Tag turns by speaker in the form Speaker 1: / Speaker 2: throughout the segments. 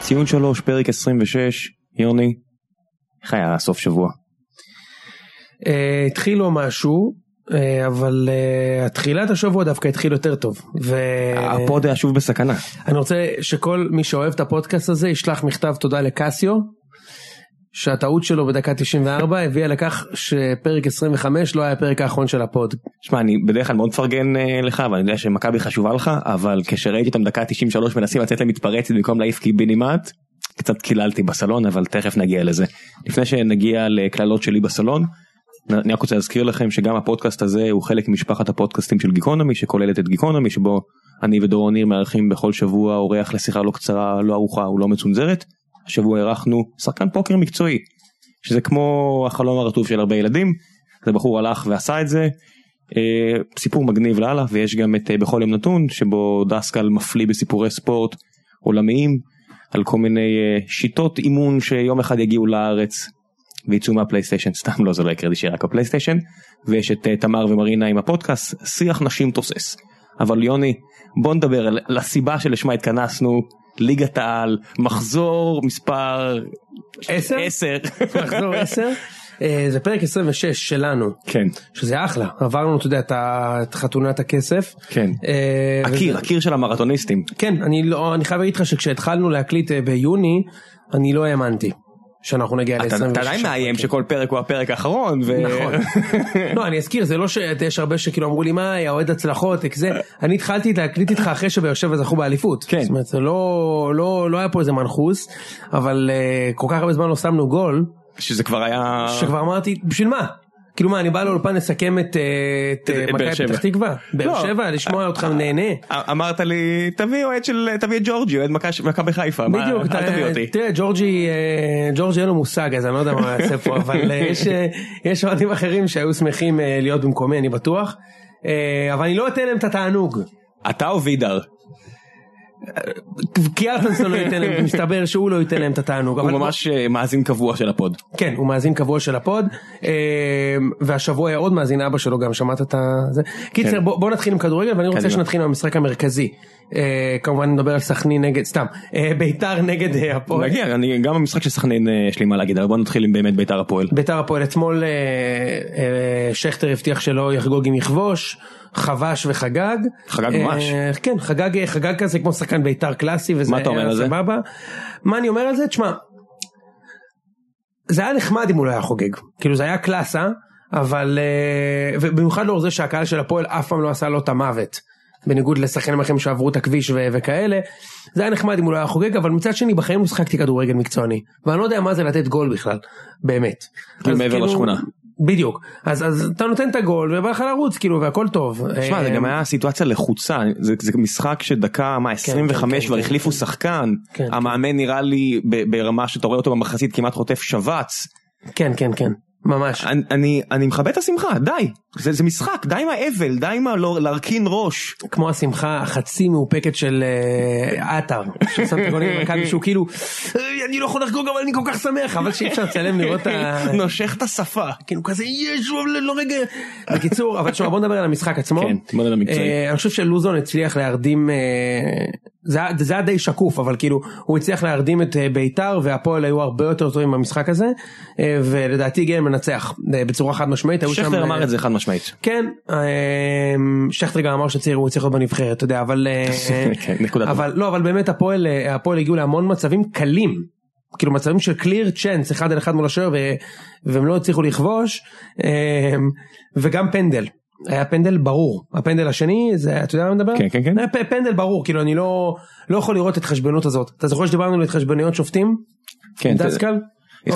Speaker 1: ציון שלוש, פרק 26, יוני, איך היה הסוף שבוע?
Speaker 2: אה, התחיל לא משהו, אה, אבל אה, התחילת השבוע דווקא התחיל יותר טוב. ו...
Speaker 1: הפוד היה שוב בסכנה.
Speaker 2: אני רוצה שכל מי שאוהב את הפודקאסט הזה ישלח מכתב תודה לקסיו, שהטעות שלו בדקה 94 הביאה לכך שפרק 25 לא היה הפרק האחרון של הפוד.
Speaker 1: שמע, אני בדרך כלל מאוד מפרגן אה, לך, ואני יודע שמכבי חשובה לך, אבל כשראיתי אותם דקה 93 מנסים לצאת למתפרצת במקום להעיף קיבינימט, קצת קיללתי בסלון, אבל תכף נגיע לזה. לפני שנגיע לקללות שלי בסלון, נ- אני רק רוצה להזכיר לכם שגם הפודקאסט הזה הוא חלק ממשפחת הפודקאסטים של גיקונומי, שכוללת את גיקונומי, שבו אני ודורון ניר מארחים בכל שבוע אורח לשיחה לא קצרה, לא ארוכה ולא מצונזרת. השבוע אירחנו שחקן פוקר מקצועי, שזה כמו החלום הרטוב של הרבה ילדים, זה בחור הלך ועשה את זה. אה, סיפור מגניב לאללה ויש גם את אה, בכל יום נתון שבו דסקל מפליא בסיפורי ספורט עולמיים על כל מיני אה, שיטות אימון שיום אחד יגיעו לארץ ויצאו מהפלייסטיישן סתם לא זה לא יקרה לי שיהיה רק הפלייסטיישן ויש את אה, תמר ומרינה עם הפודקאסט שיח נשים תוסס אבל יוני בוא נדבר על על הסיבה שלשמה התכנסנו ליגת העל מחזור מספר
Speaker 2: עשר?
Speaker 1: 10
Speaker 2: מחזור 10. זה פרק 26 שלנו,
Speaker 1: כן
Speaker 2: שזה אחלה, עברנו, אתה יודע, את ה- את חתונת הכסף.
Speaker 1: כן
Speaker 2: אה, וזה-
Speaker 1: הקיר הקיר של המרתוניסטים
Speaker 2: כן, אני לא, אני חייב להגיד לך שכשהתחלנו להקליט אה, ביוני, אני לא האמנתי שאנחנו נגיע ל-26.
Speaker 1: אתה אתה עדיין מאיים שכל פרק הוא הפרק האחרון ו...
Speaker 2: נכון. לא, אני אזכיר, זה לא שיש הרבה שכאילו אמרו לי, מה, יא אוהד הצלחות, איך זה, אני התחלתי להקליט איתך אחרי שבאר שבע זכו באליפות.
Speaker 1: כן.
Speaker 2: זאת אומרת, זה לא, לא, לא היה פה איזה מנחוס, אבל אה, כל כך הרבה זמן לא שמנו גול,
Speaker 1: שזה כבר היה...
Speaker 2: שכבר אמרתי, בשביל מה? כאילו מה, אני בא לאולפן לסכם את, אה, את אה,
Speaker 1: את באר
Speaker 2: מכבי
Speaker 1: שבע.
Speaker 2: פתח תקווה? באר
Speaker 1: לא.
Speaker 2: שבע, לשמוע אותך נהנה.
Speaker 1: א- אמרת לי תביא אוהד של תביא את ג'ורג'י אוהד מכש- מכבי חיפה מה-
Speaker 2: בדיוק,
Speaker 1: אל
Speaker 2: אתה-
Speaker 1: תביא אותי
Speaker 2: תראה, ג'ורג'י, אה, ג'ורג'י אין לו מושג, אז אני לא יודע מה הוא יעשה פה, אבל אה, יש, אה, יש אוהדים אחרים שהיו שמחים אה, להיות במקומי, אני בטוח. אה, אבל אני לא אתן להם את התענוג.
Speaker 1: אתה או וידר
Speaker 2: קיארטנסון לא ייתן להם, מסתבר שהוא לא ייתן להם את התענוג.
Speaker 1: הוא
Speaker 2: אבל-
Speaker 1: ממש אה, מאזין קבוע של הפוד
Speaker 2: כן, הוא מאזין קבוע של הפוד, אה, והשבוע היה עוד מאזין אבא שלו גם, שמעת את ה... זה? קיצר,
Speaker 1: כן.
Speaker 2: בוא, בוא נתחיל עם כדורגל, ואני רוצה
Speaker 1: קדימה.
Speaker 2: שנתחיל עם המשחק המרכזי. אה, כמובן נדבר על סכנין נגד, סתם, אה, ביתר נגד אה, הפועל.
Speaker 1: נגיע אני גם במשחק של סכנין אה, יש לי מה להגיד אבל בוא נתחיל עם באמת בית"ר הפועל
Speaker 2: ביתר הפועל אתמול אה, אה, שכטר הבטיח שלא יחגוג אם יכבוש, חבש וחגג.
Speaker 1: חגג ממש.
Speaker 2: אה, כן, חגג, חגג כזה כמו שחקן ביתר קלאסי וזה
Speaker 1: מה אתה אומר
Speaker 2: היה
Speaker 1: על זה?
Speaker 2: סבבה. מה אני אומר על זה? תשמע, זה היה נחמד אם הוא לא היה חוגג, כאילו זה היה קלאסה, אבל אה, ובמיוחד לאור זה שהקהל של הפועל אף פעם לא עשה לו את המוות. בניגוד לשחקנים אחרים שעברו את הכביש ו- וכאלה, זה היה נחמד אם הוא לא היה חוגג, אבל מצד שני בחיים לא שחקתי כדורגל מקצועני, ואני לא יודע מה זה לתת גול בכלל, באמת.
Speaker 1: כאילו
Speaker 2: אז
Speaker 1: מעבר לשכונה.
Speaker 2: בדיוק, אז, אז אתה נותן את הגול ובא לך לרוץ כאילו והכל טוב.
Speaker 1: תשמע זה
Speaker 2: אה,
Speaker 1: גם היה סיטואציה לחוצה זה זה משחק שדקה מה
Speaker 2: כן,
Speaker 1: 25
Speaker 2: כן,
Speaker 1: כבר
Speaker 2: כן,
Speaker 1: החליפו
Speaker 2: כן.
Speaker 1: שחקן
Speaker 2: כן, כן.
Speaker 1: המאמן נראה לי ב- ברמה שאתה רואה אותו במחצית כמעט חוטף שבץ
Speaker 2: כן כן כן, ממש.
Speaker 1: אני- אני אני מכבד את השמחה די זה זה משחק די עם האבל די עם הלא- להרכין ראש
Speaker 2: כמו השמחה החצי מאופקת של אה, עטר, ששם את הגולים במכבי שהוא כאילו "אה, אני לא יכול לחגוג אבל אני כל כך שמח אבל שאי אפשר לצלם לראות את ה...
Speaker 1: נושך את השפה.
Speaker 2: כאילו כזה יש אבל לא רגע. בקיצור אבל תשמע בוא נדבר על המשחק עצמו.
Speaker 1: כן, בוא נדבר על המקצועי.
Speaker 2: אה, אני חושב שלוזון הצליח להרדים אה, זה היה- זה היה די שקוף אבל כאילו הוא הצליח להרדים את אה, ביתר והפועל היו הרבה יותר טובים במשחק הזה אה, ולדעתי הגיע מנצח אה, בצורה חד משמעית. היו שם,
Speaker 1: שכטר
Speaker 2: אה,
Speaker 1: אמר את זה חד משמעית.
Speaker 2: כן, אה, שכטר גם אמר שצעיר הוא צריך להיות בנבחרת, אתה יודע, אבל... אה,
Speaker 1: כן, נקודה טובה.
Speaker 2: אבל לא, אבל באמת הפועל, אה, הפועל הגיעו להמון מצבים קלים. כאילו מצבים של קליר צ'אנס אחד על אחד מול השוער ו- והם לא הצליחו לכבוש אה, וגם פנדל היה פנדל ברור הפנדל השני זה אתה יודע על מה אני מדבר?
Speaker 1: כן, כן, כן.
Speaker 2: היה פ- פנדל ברור כאילו אני לא לא יכול לראות את ההתחשבנות הזאת אתה זוכר שדיברנו על התחשבנויות שופטים?
Speaker 1: כן,
Speaker 2: עם
Speaker 1: אתה-
Speaker 2: דסקל? או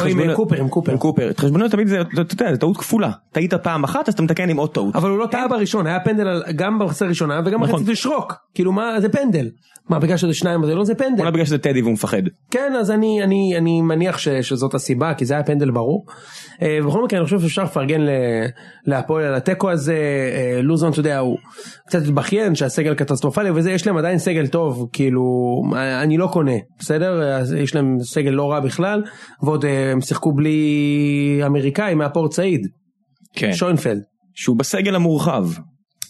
Speaker 2: עם
Speaker 1: התחשבנות-
Speaker 2: אה, קופר עם קופר
Speaker 1: עם קופר. התחשבנות תמיד זה, אתה יודע, זה טעות כפולה. טעית פעם אחת אז אתה מתקן עם עוד טעות.
Speaker 2: אבל הוא לא טעה בראשון, היה פנדל על- גם במחצית הראשונה וגם
Speaker 1: כן. נכון.
Speaker 2: במחצית לשרוק. כאילו מה, זה פנדל. מה, בגלל שזה שניים זה לא, זה פנדל.
Speaker 1: אולי בגלל שזה טדי והוא מפחד.
Speaker 2: כן, אז אני, אני, אני מניח ש, שזאת הסיבה, כי זה היה פנדל ברור. אה, בכל מקרה, אני חושב שאפשר לפרגן ל- להפועל על התיקו הזה. אה, לוזון, אתה יודע, הוא קצת התבכיין שהסגל קטסטרופלי וזה, יש להם עדיין סגל טוב, כאילו, אה, אני לא קונה, בסדר? אז יש להם סגל לא רע בכלל, ועוד אה, הם שיחקו בלי אמריקאי מהפורט סעיד,
Speaker 1: כן.
Speaker 2: שוינפלד.
Speaker 1: שהוא בסגל המורחב.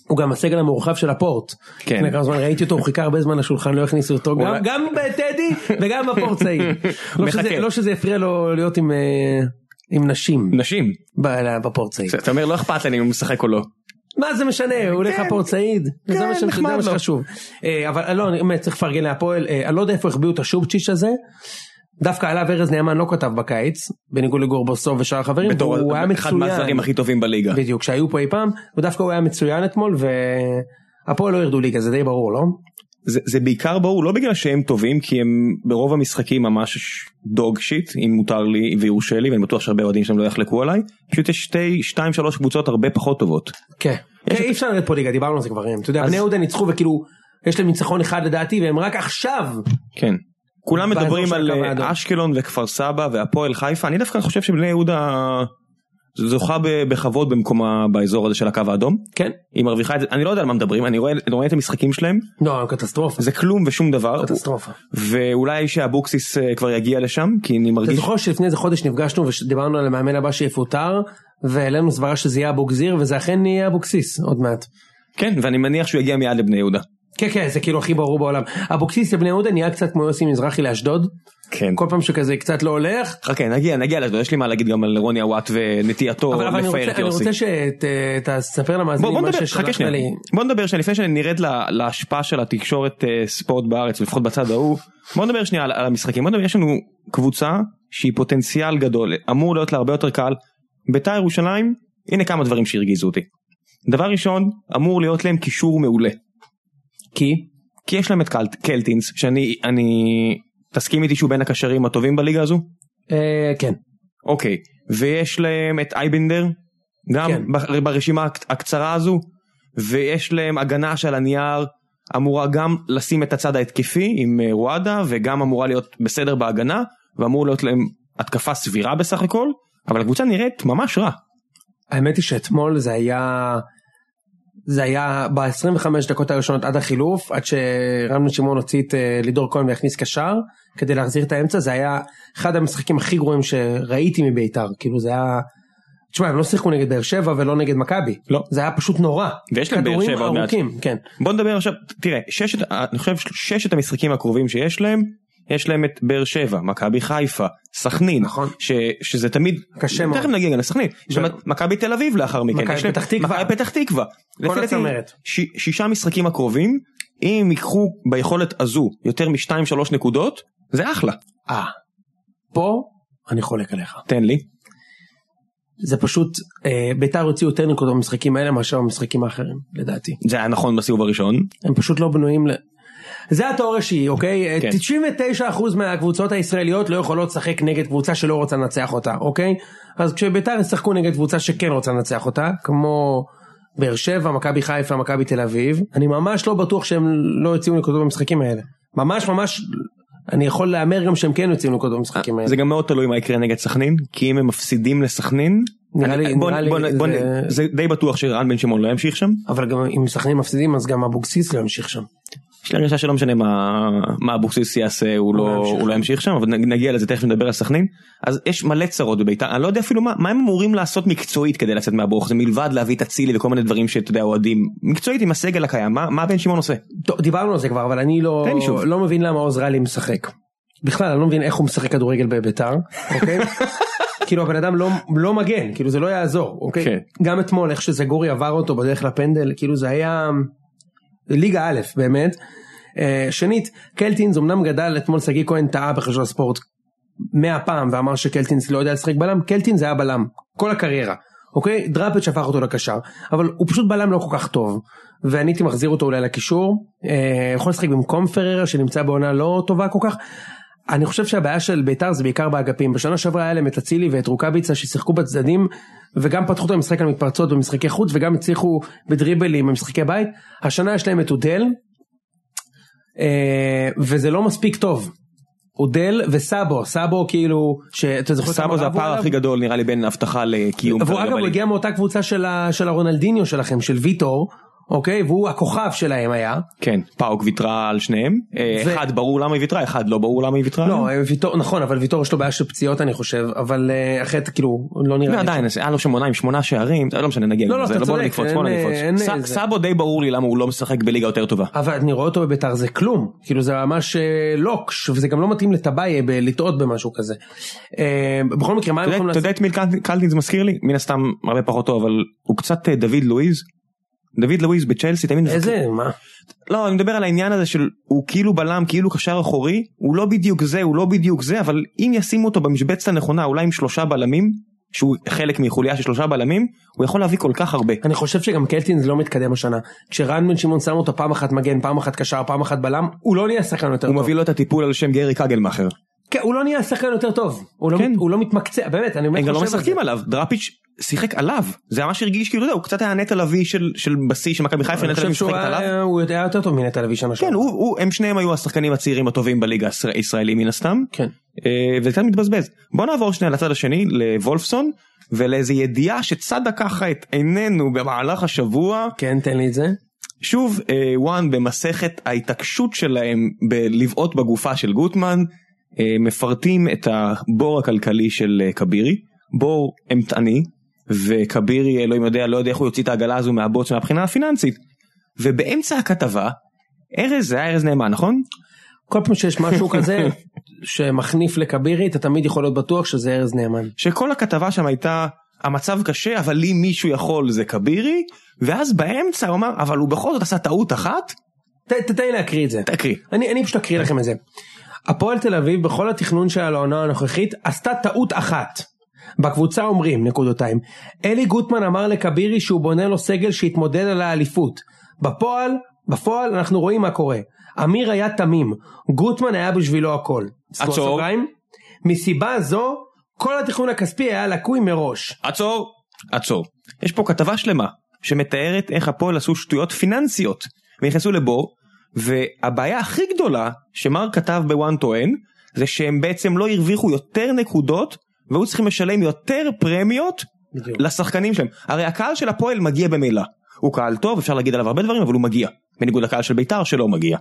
Speaker 2: הוא גם הסגל המורחב של הפורט.
Speaker 1: כן.
Speaker 2: לפני כמה זמן ראיתי אותו, הוא חיכה הרבה זמן לשולחן, לא הכניסו אותו, גם-
Speaker 1: אולי-
Speaker 2: גם בטדי וגם בפורט צעיר. לא
Speaker 1: מחכה.
Speaker 2: שזה- לא שזה הפריע לו להיות עם, אה, עם נשים
Speaker 1: נשים.
Speaker 2: ב- בפורט צעיר.
Speaker 1: אתה אומר לא אכפת לי אם הוא משחק או לא.
Speaker 2: מה זה משנה, הוא הולך
Speaker 1: כן.
Speaker 2: לפורט סעיד,
Speaker 1: כן,
Speaker 2: זה מה ש- זה
Speaker 1: נחמד
Speaker 2: מה
Speaker 1: לו.
Speaker 2: שחשוב. אה, אבל לא, אני באמת צריך לפרגן להפועל, אה, אני לא יודע איפה החביאו את השובצ'יץ' הזה. דווקא עליו ארז נאמן לא כתב בקיץ, בניגוד לגורבוסוב ושאר החברים,
Speaker 1: בתור
Speaker 2: והוא היה
Speaker 1: אחד מהזרים
Speaker 2: מצוין,
Speaker 1: הכי טובים בליגה.
Speaker 2: בדיוק, שהיו פה אי פעם, ודווקא הוא היה מצוין אתמול, והפועל לא ירדו ליגה, זה די ברור, לא?
Speaker 1: זה, זה בעיקר ברור לא בגלל שהם טובים כי הם ברוב המשחקים ממש דוג שיט אם מותר לי ויורשה לי ואני בטוח שהרבה אוהדים שלהם לא יחלקו עליי פשוט יש שתי שתיים שלוש קבוצות הרבה פחות טובות.
Speaker 2: כן. כן, אי אפשר לרדת פה ליגה, דיברנו על זה כבר, אתה יודע,
Speaker 1: אז-
Speaker 2: בני יהודה ניצחו וכאילו, יש להם ניצחון אחד לדעתי, והם רק עכשיו,
Speaker 1: כן. כולם
Speaker 2: באזור
Speaker 1: מדברים
Speaker 2: של
Speaker 1: על
Speaker 2: הקו
Speaker 1: אה,
Speaker 2: האדום.
Speaker 1: אשקלון וכפר סבא והפועל חיפה אני דווקא חושב שבני יהודה זוכה ב- בכבוד במקומה באזור הזה של הקו האדום
Speaker 2: כן?
Speaker 1: היא מרוויחה את זה אני לא יודע על מה מדברים אני רואה, אני רואה את המשחקים שלהם
Speaker 2: לא, קטסטרופה,
Speaker 1: זה כלום ושום דבר
Speaker 2: קטסטרופה.
Speaker 1: ואולי שאבוקסיס אה, כבר יגיע לשם כי אני
Speaker 2: אתה
Speaker 1: מרגיש
Speaker 2: זוכר שלפני איזה חודש נפגשנו ודיברנו על המאמן הבא שיפוטר, והעלינו סברה שזה יהיה אבוגזיר, וזה אכן יהיה אבוקסיס עוד מעט.
Speaker 1: כן ואני מניח שהוא יגיע מיד לבני יהודה.
Speaker 2: כן כן זה כאילו הכי ברור בעולם. אבוקסיס לבני יהודה נהיה קצת כמו יוסי מזרחי לאשדוד,
Speaker 1: כן.
Speaker 2: כל פעם שכזה קצת לא הולך.
Speaker 1: חכה אה, כן, נגיע נגיע לזה יש לי מה להגיד גם על רוני אוואט ונטייתו
Speaker 2: אבל, אבל אני
Speaker 1: לפאר
Speaker 2: רוצה,
Speaker 1: את
Speaker 2: אני
Speaker 1: יוסי.
Speaker 2: רוצה שתספר למאזינים
Speaker 1: בוא, בוא
Speaker 2: מה
Speaker 1: נדבר, חכה
Speaker 2: ששלחת
Speaker 1: שנייה,
Speaker 2: לי.
Speaker 1: בוא נדבר שנייה לפני שנרד לה, להשפעה של התקשורת אה, ספורט בארץ לפחות בצד ההוא בוא נדבר שנייה על, על המשחקים בוא נדבר יש לנו קבוצה שהיא פוטנציאל גדול אמור להיות לה הרבה יותר קל בית"ר ירושלים הנה כמה דברים שהרגיזו אותי. דבר ראשון אמור להיות להם קישור מעולה
Speaker 2: כי?
Speaker 1: כי יש להם את קלט, קלטינס שאני אני תסכים איתי שהוא בין הקשרים הטובים בליגה הזו.
Speaker 2: אה, כן.
Speaker 1: אוקיי, ויש להם את אייבנדר, גם
Speaker 2: כן.
Speaker 1: כן. ברשימה הק- הקצרה הזו, ויש להם הגנה של הנייר, אמורה גם לשים את הצד ההתקפי עם אה, רואדה, וגם אמורה להיות בסדר בהגנה, ואמור להיות להם התקפה סבירה בסך הכל, אבל הקבוצה נראית ממש רע.
Speaker 2: האמת היא שאתמול זה היה... זה היה ב-25 דקות הראשונות עד החילוף, עד שרמלה שמעון הוציא את אה, לידור כהן והכניס קשר, כדי להחזיר את האמצע, זה היה אחד המשחקים הכי גרועים שראיתי מביתר, כאילו זה היה... תשמע, הם לא שיחקו נגד באר שבע ולא נגד מכבי.
Speaker 1: לא.
Speaker 2: זה היה פשוט נורא.
Speaker 1: ויש להם באר
Speaker 2: כדורים
Speaker 1: שבע עוד מעט.
Speaker 2: ארוכים, כן.
Speaker 1: בוא נדבר עכשיו, תראה, ששת, אני חושב ששת המשחקים הקרובים שיש להם, יש להם את באר שבע, מכבי חיפה, סכנין,
Speaker 2: נכון.
Speaker 1: ש, שזה תמיד,
Speaker 2: קשה מאוד.
Speaker 1: תכף נגיע גם לסכנין, יש להם
Speaker 2: ו-
Speaker 1: את מכבי תל אביב לאחר מכן,
Speaker 2: מכבי
Speaker 1: יש להם-
Speaker 2: פתח תקווה.
Speaker 1: מכבי פתח תקווה, לפי דעתי,
Speaker 2: הצמרת.
Speaker 1: ש, שישה משחקים הקרובים, אם ייקחו ביכולת הזו יותר משתיים שלוש נקודות, זה אחלה,
Speaker 2: אה. פה אני חולק עליך.
Speaker 1: תן לי,
Speaker 2: זה פשוט, אה, ביתר הוציאו יותר נקודות במשחקים האלה מאשר במשחקים האחרים, לדעתי.
Speaker 1: זה היה נכון בסיבוב הראשון,
Speaker 2: הם פשוט לא בנויים ל... זה התיאוריה שהיא, אוקיי?
Speaker 1: כן.
Speaker 2: 99% מהקבוצות הישראליות לא יכולות לשחק נגד קבוצה שלא רוצה לנצח אותה, אוקיי? אז כשביתר ישחקו נגד קבוצה שכן רוצה לנצח אותה, כמו באר שבע, מכבי חיפה, מכבי תל אביב, אני ממש לא בטוח שהם לא יוציאו נקודות במשחקים האלה. ממש ממש, אני יכול להמר גם שהם כן יוציאו נקודות במשחקים האלה.
Speaker 1: אה, זה גם מאוד תלוי מה יקרה נגד סכנין, כי אם הם מפסידים לסכנין,
Speaker 2: נראה לי-
Speaker 1: בוא-
Speaker 2: נראה לי
Speaker 1: בוא- בוא-
Speaker 2: זה-
Speaker 1: זה די בטוח שרן בן שמעון לא ימשיך שם.
Speaker 2: אבל גם אם סכנין מפסידים אז גם אבוקסיס לא ימשיך שם.
Speaker 1: יש לי הרגשה שלא משנה מה מה אבוקסיס יעשה הוא
Speaker 2: לא
Speaker 1: לא
Speaker 2: ימשיך.
Speaker 1: הוא לא ימשיך שם אבל נ- נגיע לזה תכף נדבר על סכנין אז יש מלא צרות בביתר אני לא יודע אפילו מה מה הם אמורים לעשות מקצועית כדי לצאת מהברוך זה מלבד להביא את אצילי וכל מיני דברים שאתה יודע אוהדים מקצועית עם הסגל הקיים מה מה בן שמעון עושה
Speaker 2: טוב, דיברנו על זה כבר, אבל אני לא,
Speaker 1: תן לי שוב.
Speaker 2: לא מבין למה עוז רלי משחק. בכלל, אני לא מבין איך הוא משחק כדורגל בביתר, אוקיי? כאילו הבן אדם לא, לא מגן, כאילו זה לא יעזור, אוקיי?
Speaker 1: כן.
Speaker 2: גם אתמול, איך שזגורי עבר אותו בדרך לפנדל, כאילו זה היה... זה ליגה א', באמת. אה, שנית, קלטינס אמנם גדל, אתמול שגיא כהן טעה בחשבון הספורט מאה פעם ואמר שקלטינס לא יודע לשחק בלם, קלטינס היה בלם, כל הקריירה, אוקיי? דראפיץ' הפך אותו לקשר, אבל הוא פשוט בלם לא כל כך טוב, ואני הייתי מחזיר אותו אולי לקישור, אה, יכול לשחק במקום פררה שנמצא בעונה לא טובה כל כך. אני חושב שהבעיה של ביתר זה בעיקר באגפים, בשנה שעברה היה להם את אצילי ואת רוקאביצה ששיחקו בצדדים וגם פתחו את המשחק על מתפרצות במשחקי חוץ וגם הצליחו בדריבלים במשחקי בית, השנה יש להם את אודל, אה, וזה לא מספיק טוב. אודל וסאבו, סאבו כאילו, שאתה זוכר כמה
Speaker 1: סאבו זה
Speaker 2: רבו
Speaker 1: הפער
Speaker 2: עליו?
Speaker 1: הכי גדול נראה לי בין הבטחה לקיום
Speaker 2: והוא
Speaker 1: כרגע
Speaker 2: אגב הוא
Speaker 1: בליגה.
Speaker 2: הגיע מאותה קבוצה של, ה, של הרונלדיניו שלכם, של ויטור, אוקיי? והוא הכוכב שלהם היה.
Speaker 1: כן, פאוק ויתרה על שניהם, אה,
Speaker 2: ו-
Speaker 1: אחד ברור למה היא ויתרה, אחד לא ברור למה היא ויתרה.
Speaker 2: לא, אה, ויטור, נכון, אבל ויטור יש לו בעיה של פציעות אני חושב, אבל אה, אחרת כאילו, לא נראה לי.
Speaker 1: ועדיין, אז היה לו שם עונה עם שמונה שערים, לא משנה, נגיע
Speaker 2: לא,
Speaker 1: גם
Speaker 2: לא,
Speaker 1: לזה,
Speaker 2: אתה
Speaker 1: בוא
Speaker 2: צודק,
Speaker 1: נקפוץ,
Speaker 2: אין-
Speaker 1: בוא
Speaker 2: אין
Speaker 1: נקפוץ. ס-
Speaker 2: איזה-
Speaker 1: סאבו די ברור לי למה הוא לא משחק בליגה יותר טובה.
Speaker 2: אבל אני רואה אותו בביתר זה כלום, כאילו זה ממש אה, לוקש, וזה גם לא מתאים לטבעיה ב- לטעות במשהו כזה. אה, בכל מקרה, מה הם
Speaker 1: אתה יודע-
Speaker 2: יכולים
Speaker 1: אתה
Speaker 2: לעשות?
Speaker 1: יודע את מי קל- קלטינס מזכיר לי? מן הסתם הרבה פחות טוב, אבל הוא קצת אה, דוד לואיז. דוד לואיז בצ'לסי תמיד...
Speaker 2: איזה, מה?
Speaker 1: לא, אני מדבר על העניין הזה של הוא כאילו בלם, כאילו קשר אחורי, הוא לא בדיוק זה, הוא לא בדיוק זה, אבל אם ישימו אותו במשבצת הנכונה, אולי עם שלושה בלמים, שהוא חלק מחוליה של שלושה בלמים, הוא יכול להביא כל כך הרבה.
Speaker 2: אני חושב שגם קלטינס לא מתקדם השנה. כשרן בן שמעון שם אותו פעם אחת מגן, פעם אחת קשר, פעם אחת בלם, הוא לא נהיה שחקן יותר
Speaker 1: הוא
Speaker 2: טוב.
Speaker 1: מביא לו את הטיפול על שם גרי קגלמאכר.
Speaker 2: כן, הוא לא נהיה שחקן יותר טוב. הוא לא
Speaker 1: כן.
Speaker 2: מת- הוא לא מתמקצע, באמת, אני באמת
Speaker 1: הם גם לא
Speaker 2: חושב על זה.
Speaker 1: משחקים עליו, דראפיץ' שיחק עליו, זה ממש הרגיש כאילו, אתה יודע, הוא קצת היה נטע לביא של של בשיא של מכבי חיפה,
Speaker 2: אני
Speaker 1: נטע לביא
Speaker 2: חושב שהוא
Speaker 1: משחקת עליו.
Speaker 2: היה הוא היה יותר טוב מנטע לביא שנה
Speaker 1: כן,
Speaker 2: שעברה.
Speaker 1: הוא, הוא, הם שניהם היו השחקנים הצעירים הטובים בליגה הישראל- הישראלית מן הסתם,
Speaker 2: כן.
Speaker 1: אה, וזה קצת מתבזבז. בוא נעבור שנייה לצד השני, לוולפסון, ולאיזו ידיעה שצדה ככה את עינינו במהלך השבוע.
Speaker 2: כן, תן לי את זה.
Speaker 1: שוב, אה, וואן במסכת ההתעקשות שלהם בלבעוט בגופה של גוטמן, אה, מפרטים את הבור הכלכלי של אה, כבירי, בור אימתני, וכבירי, אלוהים יודע, לא יודע איך הוא יוציא את העגלה הזו מהבוץ מהבחינה הפיננסית. ובאמצע הכתבה, ארז, זה היה ארז נאמן, נכון?
Speaker 2: כל פעם שיש משהו כזה שמחניף לכבירי, אתה תמיד יכול להיות בטוח שזה ארז נאמן.
Speaker 1: שכל הכתבה שם הייתה המצב קשה אבל אם מישהו יכול זה כבירי ואז באמצע הוא אמר אבל הוא בכל זאת עשה טעות אחת
Speaker 2: ת- ת- תן לי להקריא את זה.
Speaker 1: תקריא.
Speaker 2: אני, אני פשוט אקריא לכם את זה. הפועל תל אביב בכל התכנון שלה לעונה הנוכחית עשתה טעות אחת. בקבוצה אומרים נקודותיים. אלי גוטמן אמר לכבירי שהוא בונה לו סגל שיתמודד על האליפות. בפועל, בפועל אנחנו רואים מה קורה. אמיר היה תמים, גוטמן היה בשבילו הכל. סגור
Speaker 1: עצור.
Speaker 2: סוגריים. מסיבה זו, כל התכנון הכספי היה לקוי מראש.
Speaker 1: עצור. עצור. יש פה כתבה שלמה שמתארת איך הפועל עשו שטויות פיננסיות ונכנסו לבור והבעיה הכי גדולה שמר כתב בוואן טוען זה שהם בעצם לא הרוויחו יותר נקודות והיו צריכים לשלם יותר פרמיות
Speaker 2: בדיוק.
Speaker 1: לשחקנים שלהם. הרי הקהל של הפועל מגיע במילא. הוא קהל טוב, אפשר להגיד עליו הרבה דברים, אבל הוא מגיע. בניגוד לקהל של בית"ר שלא מגיע.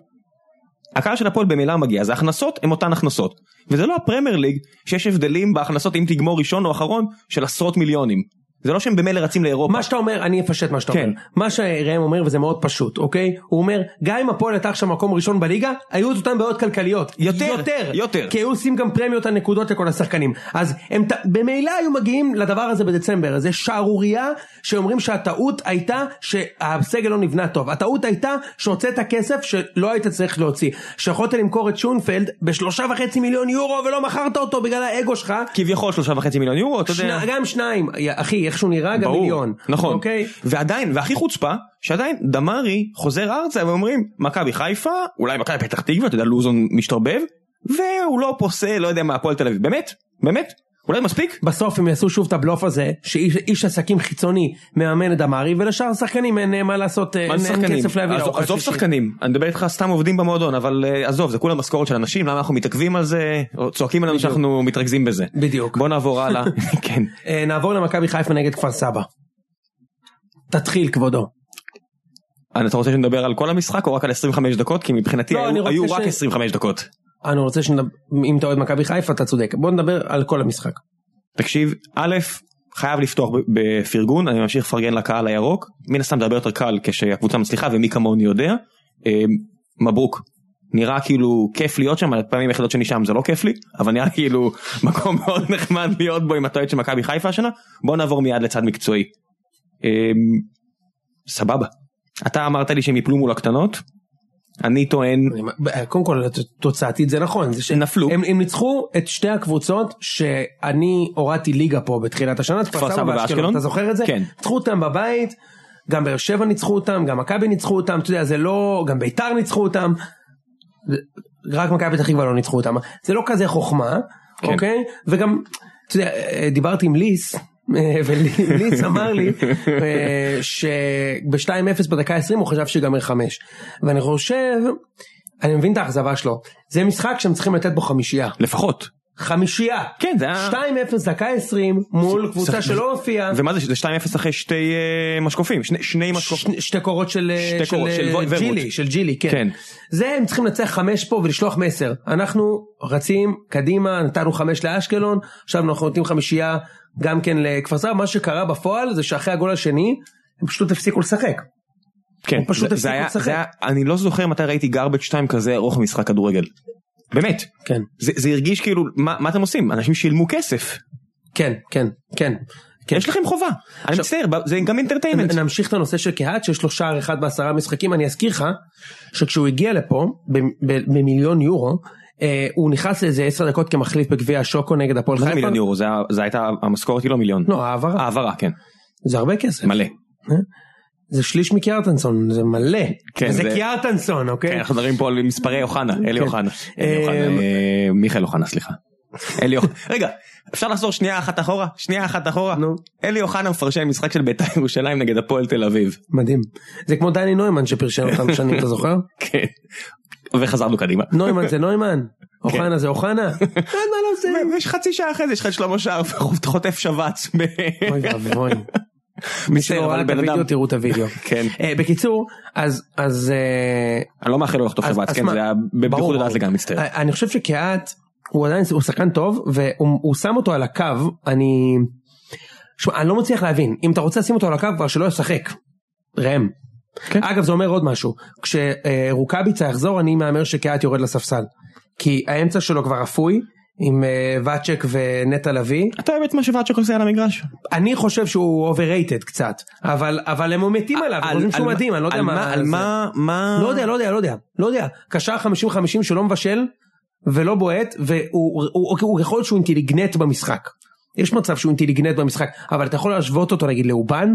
Speaker 1: הקהל של הפועל במילא מגיע, אז ההכנסות הן אותן הכנסות. וזה לא הפרמייר ליג שיש הבדלים בהכנסות אם תגמור ראשון או אחרון של עשרות מיליונים. זה לא שהם במילא רצים לאירופה.
Speaker 2: מה שאתה אומר, אני אפשט מה שאתה
Speaker 1: כן.
Speaker 2: אומר. מה שראם אומר, וזה מאוד פשוט, אוקיי? הוא אומר, גם אם הפועל הייתה עכשיו מקום ראשון בליגה, היו את אותן בעיות כלכליות.
Speaker 1: יותר,
Speaker 2: יותר.
Speaker 1: יותר.
Speaker 2: כי היו עושים גם פרמיות על נקודות לכל השחקנים. אז הם ת- במילא היו מגיעים לדבר הזה בדצמבר. זה שערורייה שאומרים שהטעות הייתה שהסגל לא נבנה טוב. הטעות הייתה שהוצאת כסף שלא היית צריך להוציא. שיכולת למכור את שונפלד בשלושה וחצי מיליון יורו ולא מכרת אותו בגלל האגו שלך.
Speaker 1: כביכול שלושה וחצי מיליון יורו, אתה יודע.
Speaker 2: שני, גם שניים, יא- אחי, איך שהוא נראה, גם
Speaker 1: ברור,
Speaker 2: מיליון.
Speaker 1: נכון.
Speaker 2: אוקיי?
Speaker 1: ועדיין, והכי חוצפה, שעדיין דמרי חוזר ארצה ואומרים, מכבי חיפה, אולי מכבי פתח תקווה, אתה יודע, לוזון משתרבב, והוא לא פוסל, לא יודע מה, הפועל תל אביב. באמת? באמת? אולי מספיק?
Speaker 2: בסוף הם יעשו שוב את הבלוף הזה, שאיש איש עסקים חיצוני מאמן את דמרי, ולשאר השחקנים אין אה, מה לעשות, אה,
Speaker 1: מה
Speaker 2: אין
Speaker 1: זה
Speaker 2: אין
Speaker 1: שחקנים?
Speaker 2: כסף להביא
Speaker 1: עזוב-
Speaker 2: לארוחת
Speaker 1: עזוב
Speaker 2: שישי.
Speaker 1: שחקנים, אני מדבר איתך סתם עובדים במועדון, אבל אה, עזוב, זה כולה משכורת של אנשים, למה אנחנו מתעכבים על זה, או צועקים עלינו שאנחנו מתרכזים בזה.
Speaker 2: בדיוק.
Speaker 1: בוא נעבור הלאה. כן.
Speaker 2: אה, נעבור למכבי חיפה נגד כפר סבא. תתחיל כבודו.
Speaker 1: אה, אתה רוצה שנדבר על כל המשחק או רק על 25 דקות? כי מבחינתי
Speaker 2: לא,
Speaker 1: היו-
Speaker 2: אני רוצה
Speaker 1: היו
Speaker 2: ש-
Speaker 1: רק 25 דקות.
Speaker 2: אני רוצה שנדבר, אם אתה אוהד מכבי חיפה אתה צודק, בוא נדבר על כל המשחק.
Speaker 1: תקשיב, א', חייב לפתוח ב- בפרגון, אני ממשיך לפרגן לקהל הירוק, מן הסתם זה הרבה יותר קל כשהקבוצה מצליחה ומי כמוני יודע, אה, מברוק. נראה כאילו כיף להיות שם, על הפעמים היחידות שאני שם זה לא כיף לי, אבל נראה כאילו מקום מאוד נחמד להיות בו עם הטועד של מכבי חיפה השנה, בוא נעבור מיד לצד מקצועי. אה, סבבה. אתה אמרת לי שהם יפלו מול הקטנות, אני טוען,
Speaker 2: אני- אה, קודם כל תוצאתית זה נכון, זה ש-
Speaker 1: נפלו.
Speaker 2: הם, הם ניצחו את שתי הקבוצות שאני הורדתי ליגה פה בתחילת השנה, את
Speaker 1: כפר סבא ואשקלון.
Speaker 2: אתה זוכר את זה?
Speaker 1: כן.
Speaker 2: ניצחו אותם בבית, גם באר שבע ניצחו אותם, גם מכבי ניצחו אותם, אתה יודע, זה לא, גם ביתר ניצחו אותם, רק מכבי פתח תקווה לא ניצחו אותם, זה לא כזה חוכמה,
Speaker 1: כן.
Speaker 2: אוקיי? וגם, אתה יודע, אה, דיברתי עם ליס. אה, וליס אמר לי אה, שב-2-0 בדקה 20 הוא חשב שיגמר 5 ואני חושב אני מבין את האכזבה שלו זה משחק שהם צריכים לתת בו חמישייה
Speaker 1: לפחות,
Speaker 2: חמישייה.
Speaker 1: כן, זה היה-
Speaker 2: 2-0 דקה 20 מול
Speaker 1: ש-
Speaker 2: קבוצה
Speaker 1: ש-
Speaker 2: שלא הופיעה.
Speaker 1: ומה זה, זה 2-0 אחרי שתי אה, משקופים, שני- שני משקופים.
Speaker 2: שני- שתי קורות של, אה,
Speaker 1: שתי קורות,
Speaker 2: אה,
Speaker 1: של וו- וורוט.
Speaker 2: ג'ילי, של ג'ילי, כן.
Speaker 1: כן.
Speaker 2: זה הם צריכים לנצח חמש פה ולשלוח מסר. אנחנו רצים קדימה, נתנו חמש לאשקלון, עכשיו אנחנו נותנים חמישייה גם כן לכפר סבא. מה שקרה בפועל זה שאחרי הגול השני, הם פשוט הפסיקו לשחק.
Speaker 1: כן,
Speaker 2: הם פשוט
Speaker 1: זה-
Speaker 2: הפסיקו
Speaker 1: זה היה-
Speaker 2: לשחק.
Speaker 1: זה היה- אני לא זוכר מתי ראיתי garbage 2 כזה ארוך במשחק כדורגל. באמת.
Speaker 2: כן.
Speaker 1: זה זה הרגיש כאילו, מה מה אתם עושים? אנשים שילמו כסף.
Speaker 2: כן, כן, כן. כן.
Speaker 1: יש לכם חובה. אני מצטער, זה גם אינטרטיימנט.
Speaker 2: נ- נמשיך את הנושא של קהת שיש לו שער אחד בעשרה משחקים אני אזכיר לך שכשהוא הגיע לפה ב- ב- במיליון יורו אה, הוא נכנס לאיזה עשר דקות כמחליף בגביע השוקו נגד הפועל
Speaker 1: מה זה
Speaker 2: חיפה.
Speaker 1: מיליון יורו? זה היה- זה הייתה, המשכורת היא לא מיליון.
Speaker 2: לא העברה
Speaker 1: העברה, כן.
Speaker 2: זה הרבה כסף
Speaker 1: מלא.
Speaker 2: זה שליש מקיארטנסון זה מלא
Speaker 1: כן,
Speaker 2: זה
Speaker 1: זה-
Speaker 2: קיארטנסון
Speaker 1: כן,
Speaker 2: אוקיי
Speaker 1: אנחנו מדברים פה על מספרי אוחנה, אלי
Speaker 2: כן.
Speaker 1: אוחנה. אלי אוחנה,
Speaker 2: אמ,
Speaker 1: אה, מיכאל אוחנה, סליחה. אלי אוחנה. רגע, אפשר לחזור שנייה אחת אחורה? שנייה אחת אחורה?
Speaker 2: נו.
Speaker 1: אלי אוחנה מפרשן משחק של בית"ר ירושלים נגד הפועל תל אביב.
Speaker 2: מדהים זה כמו דני נוימן שפרשן אותם שנים אתה זוכר
Speaker 1: כן. וחזרנו קדימה.
Speaker 2: נוימן זה נוימן
Speaker 1: כן.
Speaker 2: אוחנה זה אוחנה
Speaker 1: מה לא זה? ויש חצי שעה אחרי זה יש לך את שלמה שרף חוטף שבץ. ב-
Speaker 2: אוי ואבוי. מי
Speaker 1: מצטער,
Speaker 2: שלא ראה
Speaker 1: אבל
Speaker 2: את
Speaker 1: בן אדם-
Speaker 2: הוידאו תראו את הוידאו.
Speaker 1: כן.
Speaker 2: אה, בקיצור אז אז אה,
Speaker 1: אני לא מאחל לו לחטוף
Speaker 2: אז-
Speaker 1: שבץ,
Speaker 2: אז
Speaker 1: כן,
Speaker 2: מה-
Speaker 1: זה היה
Speaker 2: ברור,
Speaker 1: בבדיחות הדעת
Speaker 2: ברור.
Speaker 1: לגמרי מצטער.
Speaker 2: אני אני חושב שקיאט הוא עדיין הוא שחקן טוב והוא הוא שם אותו על הקו אני שמע, אני לא מצליח להבין אם אתה רוצה לשים אותו על הקו כבר שלא ישחק. ראם.
Speaker 1: כן.
Speaker 2: אגב זה אומר עוד משהו כשרוקאביצה יחזור אני מהמר שקיאט יורד לספסל כי האמצע שלו כבר אפוי עם אה, ואצ'ק ונטע לביא
Speaker 1: אתה באמת מה שוואצ'וק עושה על המגרש?
Speaker 2: אני חושב שהוא overrated קצת אבל אבל הם מתים עליו הם
Speaker 1: על-
Speaker 2: חושבים שהוא
Speaker 1: על-
Speaker 2: מדהים אני לא יודע
Speaker 1: על
Speaker 2: מה
Speaker 1: על
Speaker 2: זה.
Speaker 1: מה, מה...
Speaker 2: לא יודע, לא יודע, לא יודע, לא יודע. קשר 50-50 שלא מבשל ולא בועט, והוא הוא- הוא יכול להיות שהוא אינטליגנט במשחק. יש מצב שהוא אינטליגנט במשחק, אבל אתה יכול להשוות אותו נגיד לאובן?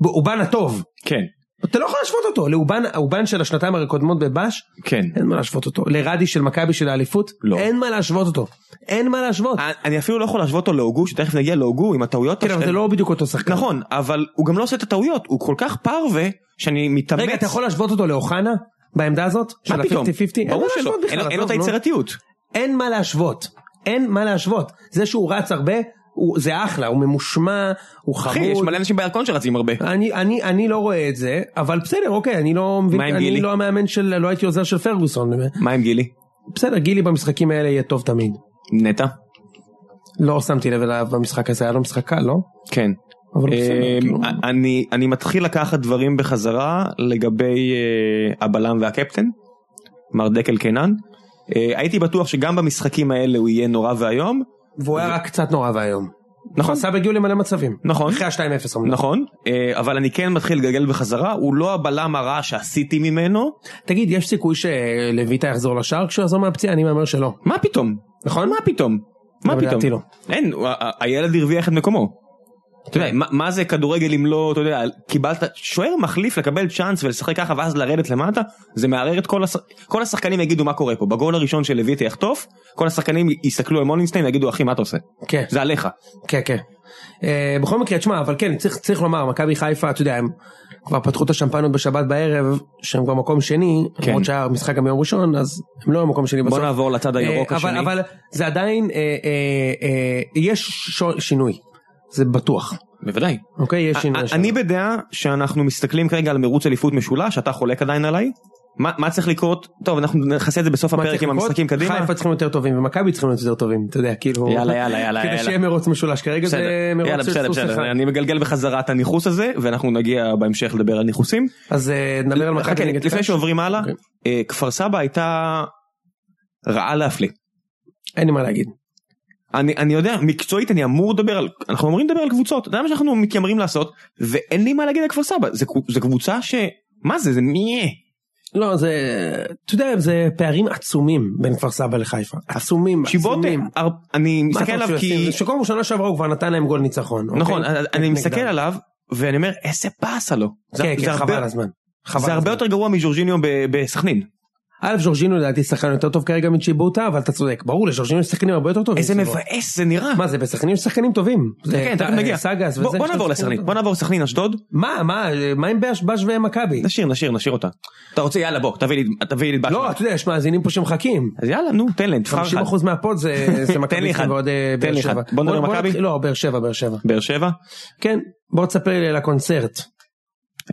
Speaker 2: ב- אובן הטוב.
Speaker 1: כן,
Speaker 2: אתה לא יכול להשוות אותו לאובן, האובן של השנתיים הקודמות בבאש,
Speaker 1: כן.
Speaker 2: אין מה להשוות אותו. לרדי של מכבי של האליפות,
Speaker 1: לא.
Speaker 2: אין מה להשוות אותו. אין מה להשוות.
Speaker 1: אני אפילו לא יכול להשוות אותו להוגו, שתכף נגיע להוגו עם הטעויות.
Speaker 2: אה, כן, אבל
Speaker 1: של-
Speaker 2: זה לא בדיוק אותו שחקן.
Speaker 1: נכון, אבל הוא גם לא עושה את הטעויות, הוא כל כך פרווה, שאני מתאמץ.
Speaker 2: רגע, אתה יכול להשוות אותו לאוחנה? בעמדה הזאת?
Speaker 1: מה
Speaker 2: של
Speaker 1: פתאום?
Speaker 2: ה-50-50? אין
Speaker 1: ברור
Speaker 2: מה
Speaker 1: שלא,
Speaker 2: להשוות
Speaker 1: אין לו-
Speaker 2: בכלל,
Speaker 1: אין לו את
Speaker 2: עזוב, לא. נו.
Speaker 1: היצירתיות.
Speaker 2: אין מה להשוות, אין מה להשוות. זה שהוא רץ הרבה, הוא, זה אחלה, הוא ממושמע, הוא
Speaker 1: אחי, יש
Speaker 2: חמוד.
Speaker 1: מלא אנשים בירקון שרצים הרבה.
Speaker 2: אני, אני, אני לא רואה את זה, אבל בסדר, אוקיי, אני לא מבין,
Speaker 1: מה עם
Speaker 2: אני
Speaker 1: גילי?
Speaker 2: לא המאמן של, לא הייתי עוזר של פרגוסון.
Speaker 1: מה עם גילי?
Speaker 2: בסדר, גילי במשחקים האלה יהיה טוב תמיד.
Speaker 1: נטע?
Speaker 2: לא שמתי לב אליו במשחק הזה, היה לו משחק קל, לא?
Speaker 1: כן.
Speaker 2: אבל בסדר,
Speaker 1: אמ,
Speaker 2: כאילו.
Speaker 1: אני אני מתחיל לקחת דברים בחזרה לגבי אה, הבלם והקפטן, מר דקל קינן. אה, הייתי בטוח שגם במשחקים האלה הוא יהיה נורא ואיום.
Speaker 2: והוא היה רק קצת נורא ואיום.
Speaker 1: נכון.
Speaker 2: הוא עשה בגיול למלא מצבים.
Speaker 1: נכון.
Speaker 2: אחרי ה-2-0 אמנם.
Speaker 1: נכון, אה, אבל אני כן מתחיל לגלגל בחזרה, הוא לא הבלם הרע שעשיתי ממנו,
Speaker 2: תגיד, יש סיכוי שלויטה יחזור לשער כשהוא יחזור מהפציעה? אני מהמר שלא.
Speaker 1: מה פתאום? נכון? מה פתאום? מה
Speaker 2: גם
Speaker 1: פתאום?
Speaker 2: לדעתי לא.
Speaker 1: אין, הוא- ה- הילד הרוויח את מקומו. אתה
Speaker 2: כן.
Speaker 1: יודע, מה- מה זה כדורגל אם לא, אתה יודע, קיבלת, שוער מחליף לקבל צ'אנס ולשחק ככה ואז לרדת למטה, זה מערער את כל הש... כל השחקנים יגידו מה קורה פה, בגול הראשון של לויטה יחטוף, כל השחקנים יסתכלו על מולינסטיין ויגידו אחי מה אתה עושה?
Speaker 2: כן.
Speaker 1: זה עליך.
Speaker 2: כן כן. אה, בכל מקרה תשמע אבל כן צריך צריך לומר מכבי חיפה אתה יודע הם כבר פתחו את השמפנות בשבת בערב שהם כבר מקום שני
Speaker 1: כן.
Speaker 2: למרות שהיה משחק גם ביום ראשון אז הם לא היו מקום שני
Speaker 1: בוא
Speaker 2: בסוף.
Speaker 1: נעבור לצד הירוק
Speaker 2: אה, אבל-
Speaker 1: השני.
Speaker 2: אבל זה עדיין אה, אה, אה, יש ש- שינוי זה בטוח
Speaker 1: בוודאי.
Speaker 2: אוקיי יש שינוי.
Speaker 1: אני
Speaker 2: השנה.
Speaker 1: אני בדעה שאנחנו מסתכלים כרגע על מרוץ אליפות משולש, אתה חולק עדיין עליי? מה מה צריך לקרות? טוב, אנחנו נכסה את זה בסוף
Speaker 2: מה
Speaker 1: הפרק
Speaker 2: צריך
Speaker 1: עם
Speaker 2: לקרות?
Speaker 1: המשחקים קדימה.
Speaker 2: חיפה צריכים להיות יותר טובים ומכבי צריכים להיות יותר טובים אתה יודע כאילו
Speaker 1: יאללה, יאללה, יאללה,
Speaker 2: כדי
Speaker 1: יאללה.
Speaker 2: שיהיה מרוץ משולש כרגע
Speaker 1: בסדר,
Speaker 2: זה
Speaker 1: יאללה,
Speaker 2: מרוץ של
Speaker 1: בסדר,
Speaker 2: סוס אחד.
Speaker 1: בסדר, אני מגלגל בחזרה את הניכוס הזה, ואנחנו נגיע בהמשך לדבר על ניכוסים.
Speaker 2: אז אה, נדבר על
Speaker 1: חכה,
Speaker 2: מכבי נגד
Speaker 1: לפני
Speaker 2: קאש.
Speaker 1: שעוברים הלאה,
Speaker 2: אוקיי.
Speaker 1: אה, כפר סבא הייתה רעה להפליא.
Speaker 2: אין לי מה להגיד.
Speaker 1: אני, אני יודע, מקצועית אני אמור לדבר על, אנחנו אמורים לדבר על קבוצות, זה מה שאנחנו מתיימרים לעשות, ואין לי מה להגיד על כפר סבא, זה, קב- זה קבוצה ש... מה זה, זה מי...
Speaker 2: לא זה אתה יודע זה פערים עצומים בין כפר סבא לחיפה עצומים
Speaker 1: שיבוטה,
Speaker 2: עצומים.
Speaker 1: הר- אני
Speaker 2: מה
Speaker 1: מסתכל
Speaker 2: אתה
Speaker 1: עליו
Speaker 2: חושב שהוא
Speaker 1: כי...
Speaker 2: ישים? שקודם כל שנה שעברה הוא כבר נתן להם גול ניצחון.
Speaker 1: נכון,
Speaker 2: אוקיי?
Speaker 1: אני- אני
Speaker 2: נגדם.
Speaker 1: מסתכל עליו, ואני אומר, איזה פאסה לו. זה-
Speaker 2: כן
Speaker 1: זה
Speaker 2: כן
Speaker 1: הרבה-
Speaker 2: חבל הזמן. חבל
Speaker 1: זה הרבה
Speaker 2: הזמן.
Speaker 1: יותר גרוע מז'ורג'יניו ב- בסכנין.
Speaker 2: א', ז'ורג'ינו לדעתי שחקן יותר טוב כרגע מצ'יבוטה, אבל אתה צודק, ברור לז'ורג'ינו יש שחקנים הרבה יותר טובים.
Speaker 1: איזה
Speaker 2: מסביבו.
Speaker 1: מבאס זה נראה.
Speaker 2: מה זה, בסכנין יש שחקנים טובים. זה
Speaker 1: כן,
Speaker 2: ט-
Speaker 1: תכף נגיע.
Speaker 2: סגס
Speaker 1: בוא-
Speaker 2: וזה,
Speaker 1: בוא
Speaker 2: יש
Speaker 1: נעבור
Speaker 2: להם שחקנים
Speaker 1: לסכנין,
Speaker 2: טובים.
Speaker 1: בוא נעבור לסכנין אשדוד.
Speaker 2: מה, מה, מה עם באשבש ומכבי?
Speaker 1: נשאיר, נשאיר, נשאיר אותה. אתה רוצה, יאללה בוא, תביא לי, תביא לי את
Speaker 2: לא,
Speaker 1: באשדוד.
Speaker 2: אתה יודע, יש מאזינים פה שמחכים.
Speaker 1: אז יאללה, נו, תן להם, תבחר אחד.
Speaker 2: 50% מהפוד זה זה
Speaker 1: תן לי
Speaker 2: מכבי
Speaker 1: אחד.
Speaker 2: ועוד אה,
Speaker 1: תן
Speaker 2: באר
Speaker 1: לי אחד.
Speaker 2: שבע.
Speaker 1: בוא נדבר
Speaker 2: בוא
Speaker 1: מכבי?
Speaker 2: נתחיל- לא, באר שבע, באר שבע.
Speaker 1: באר שבע.
Speaker 2: כן, בוא תספר לי על הקונצרט.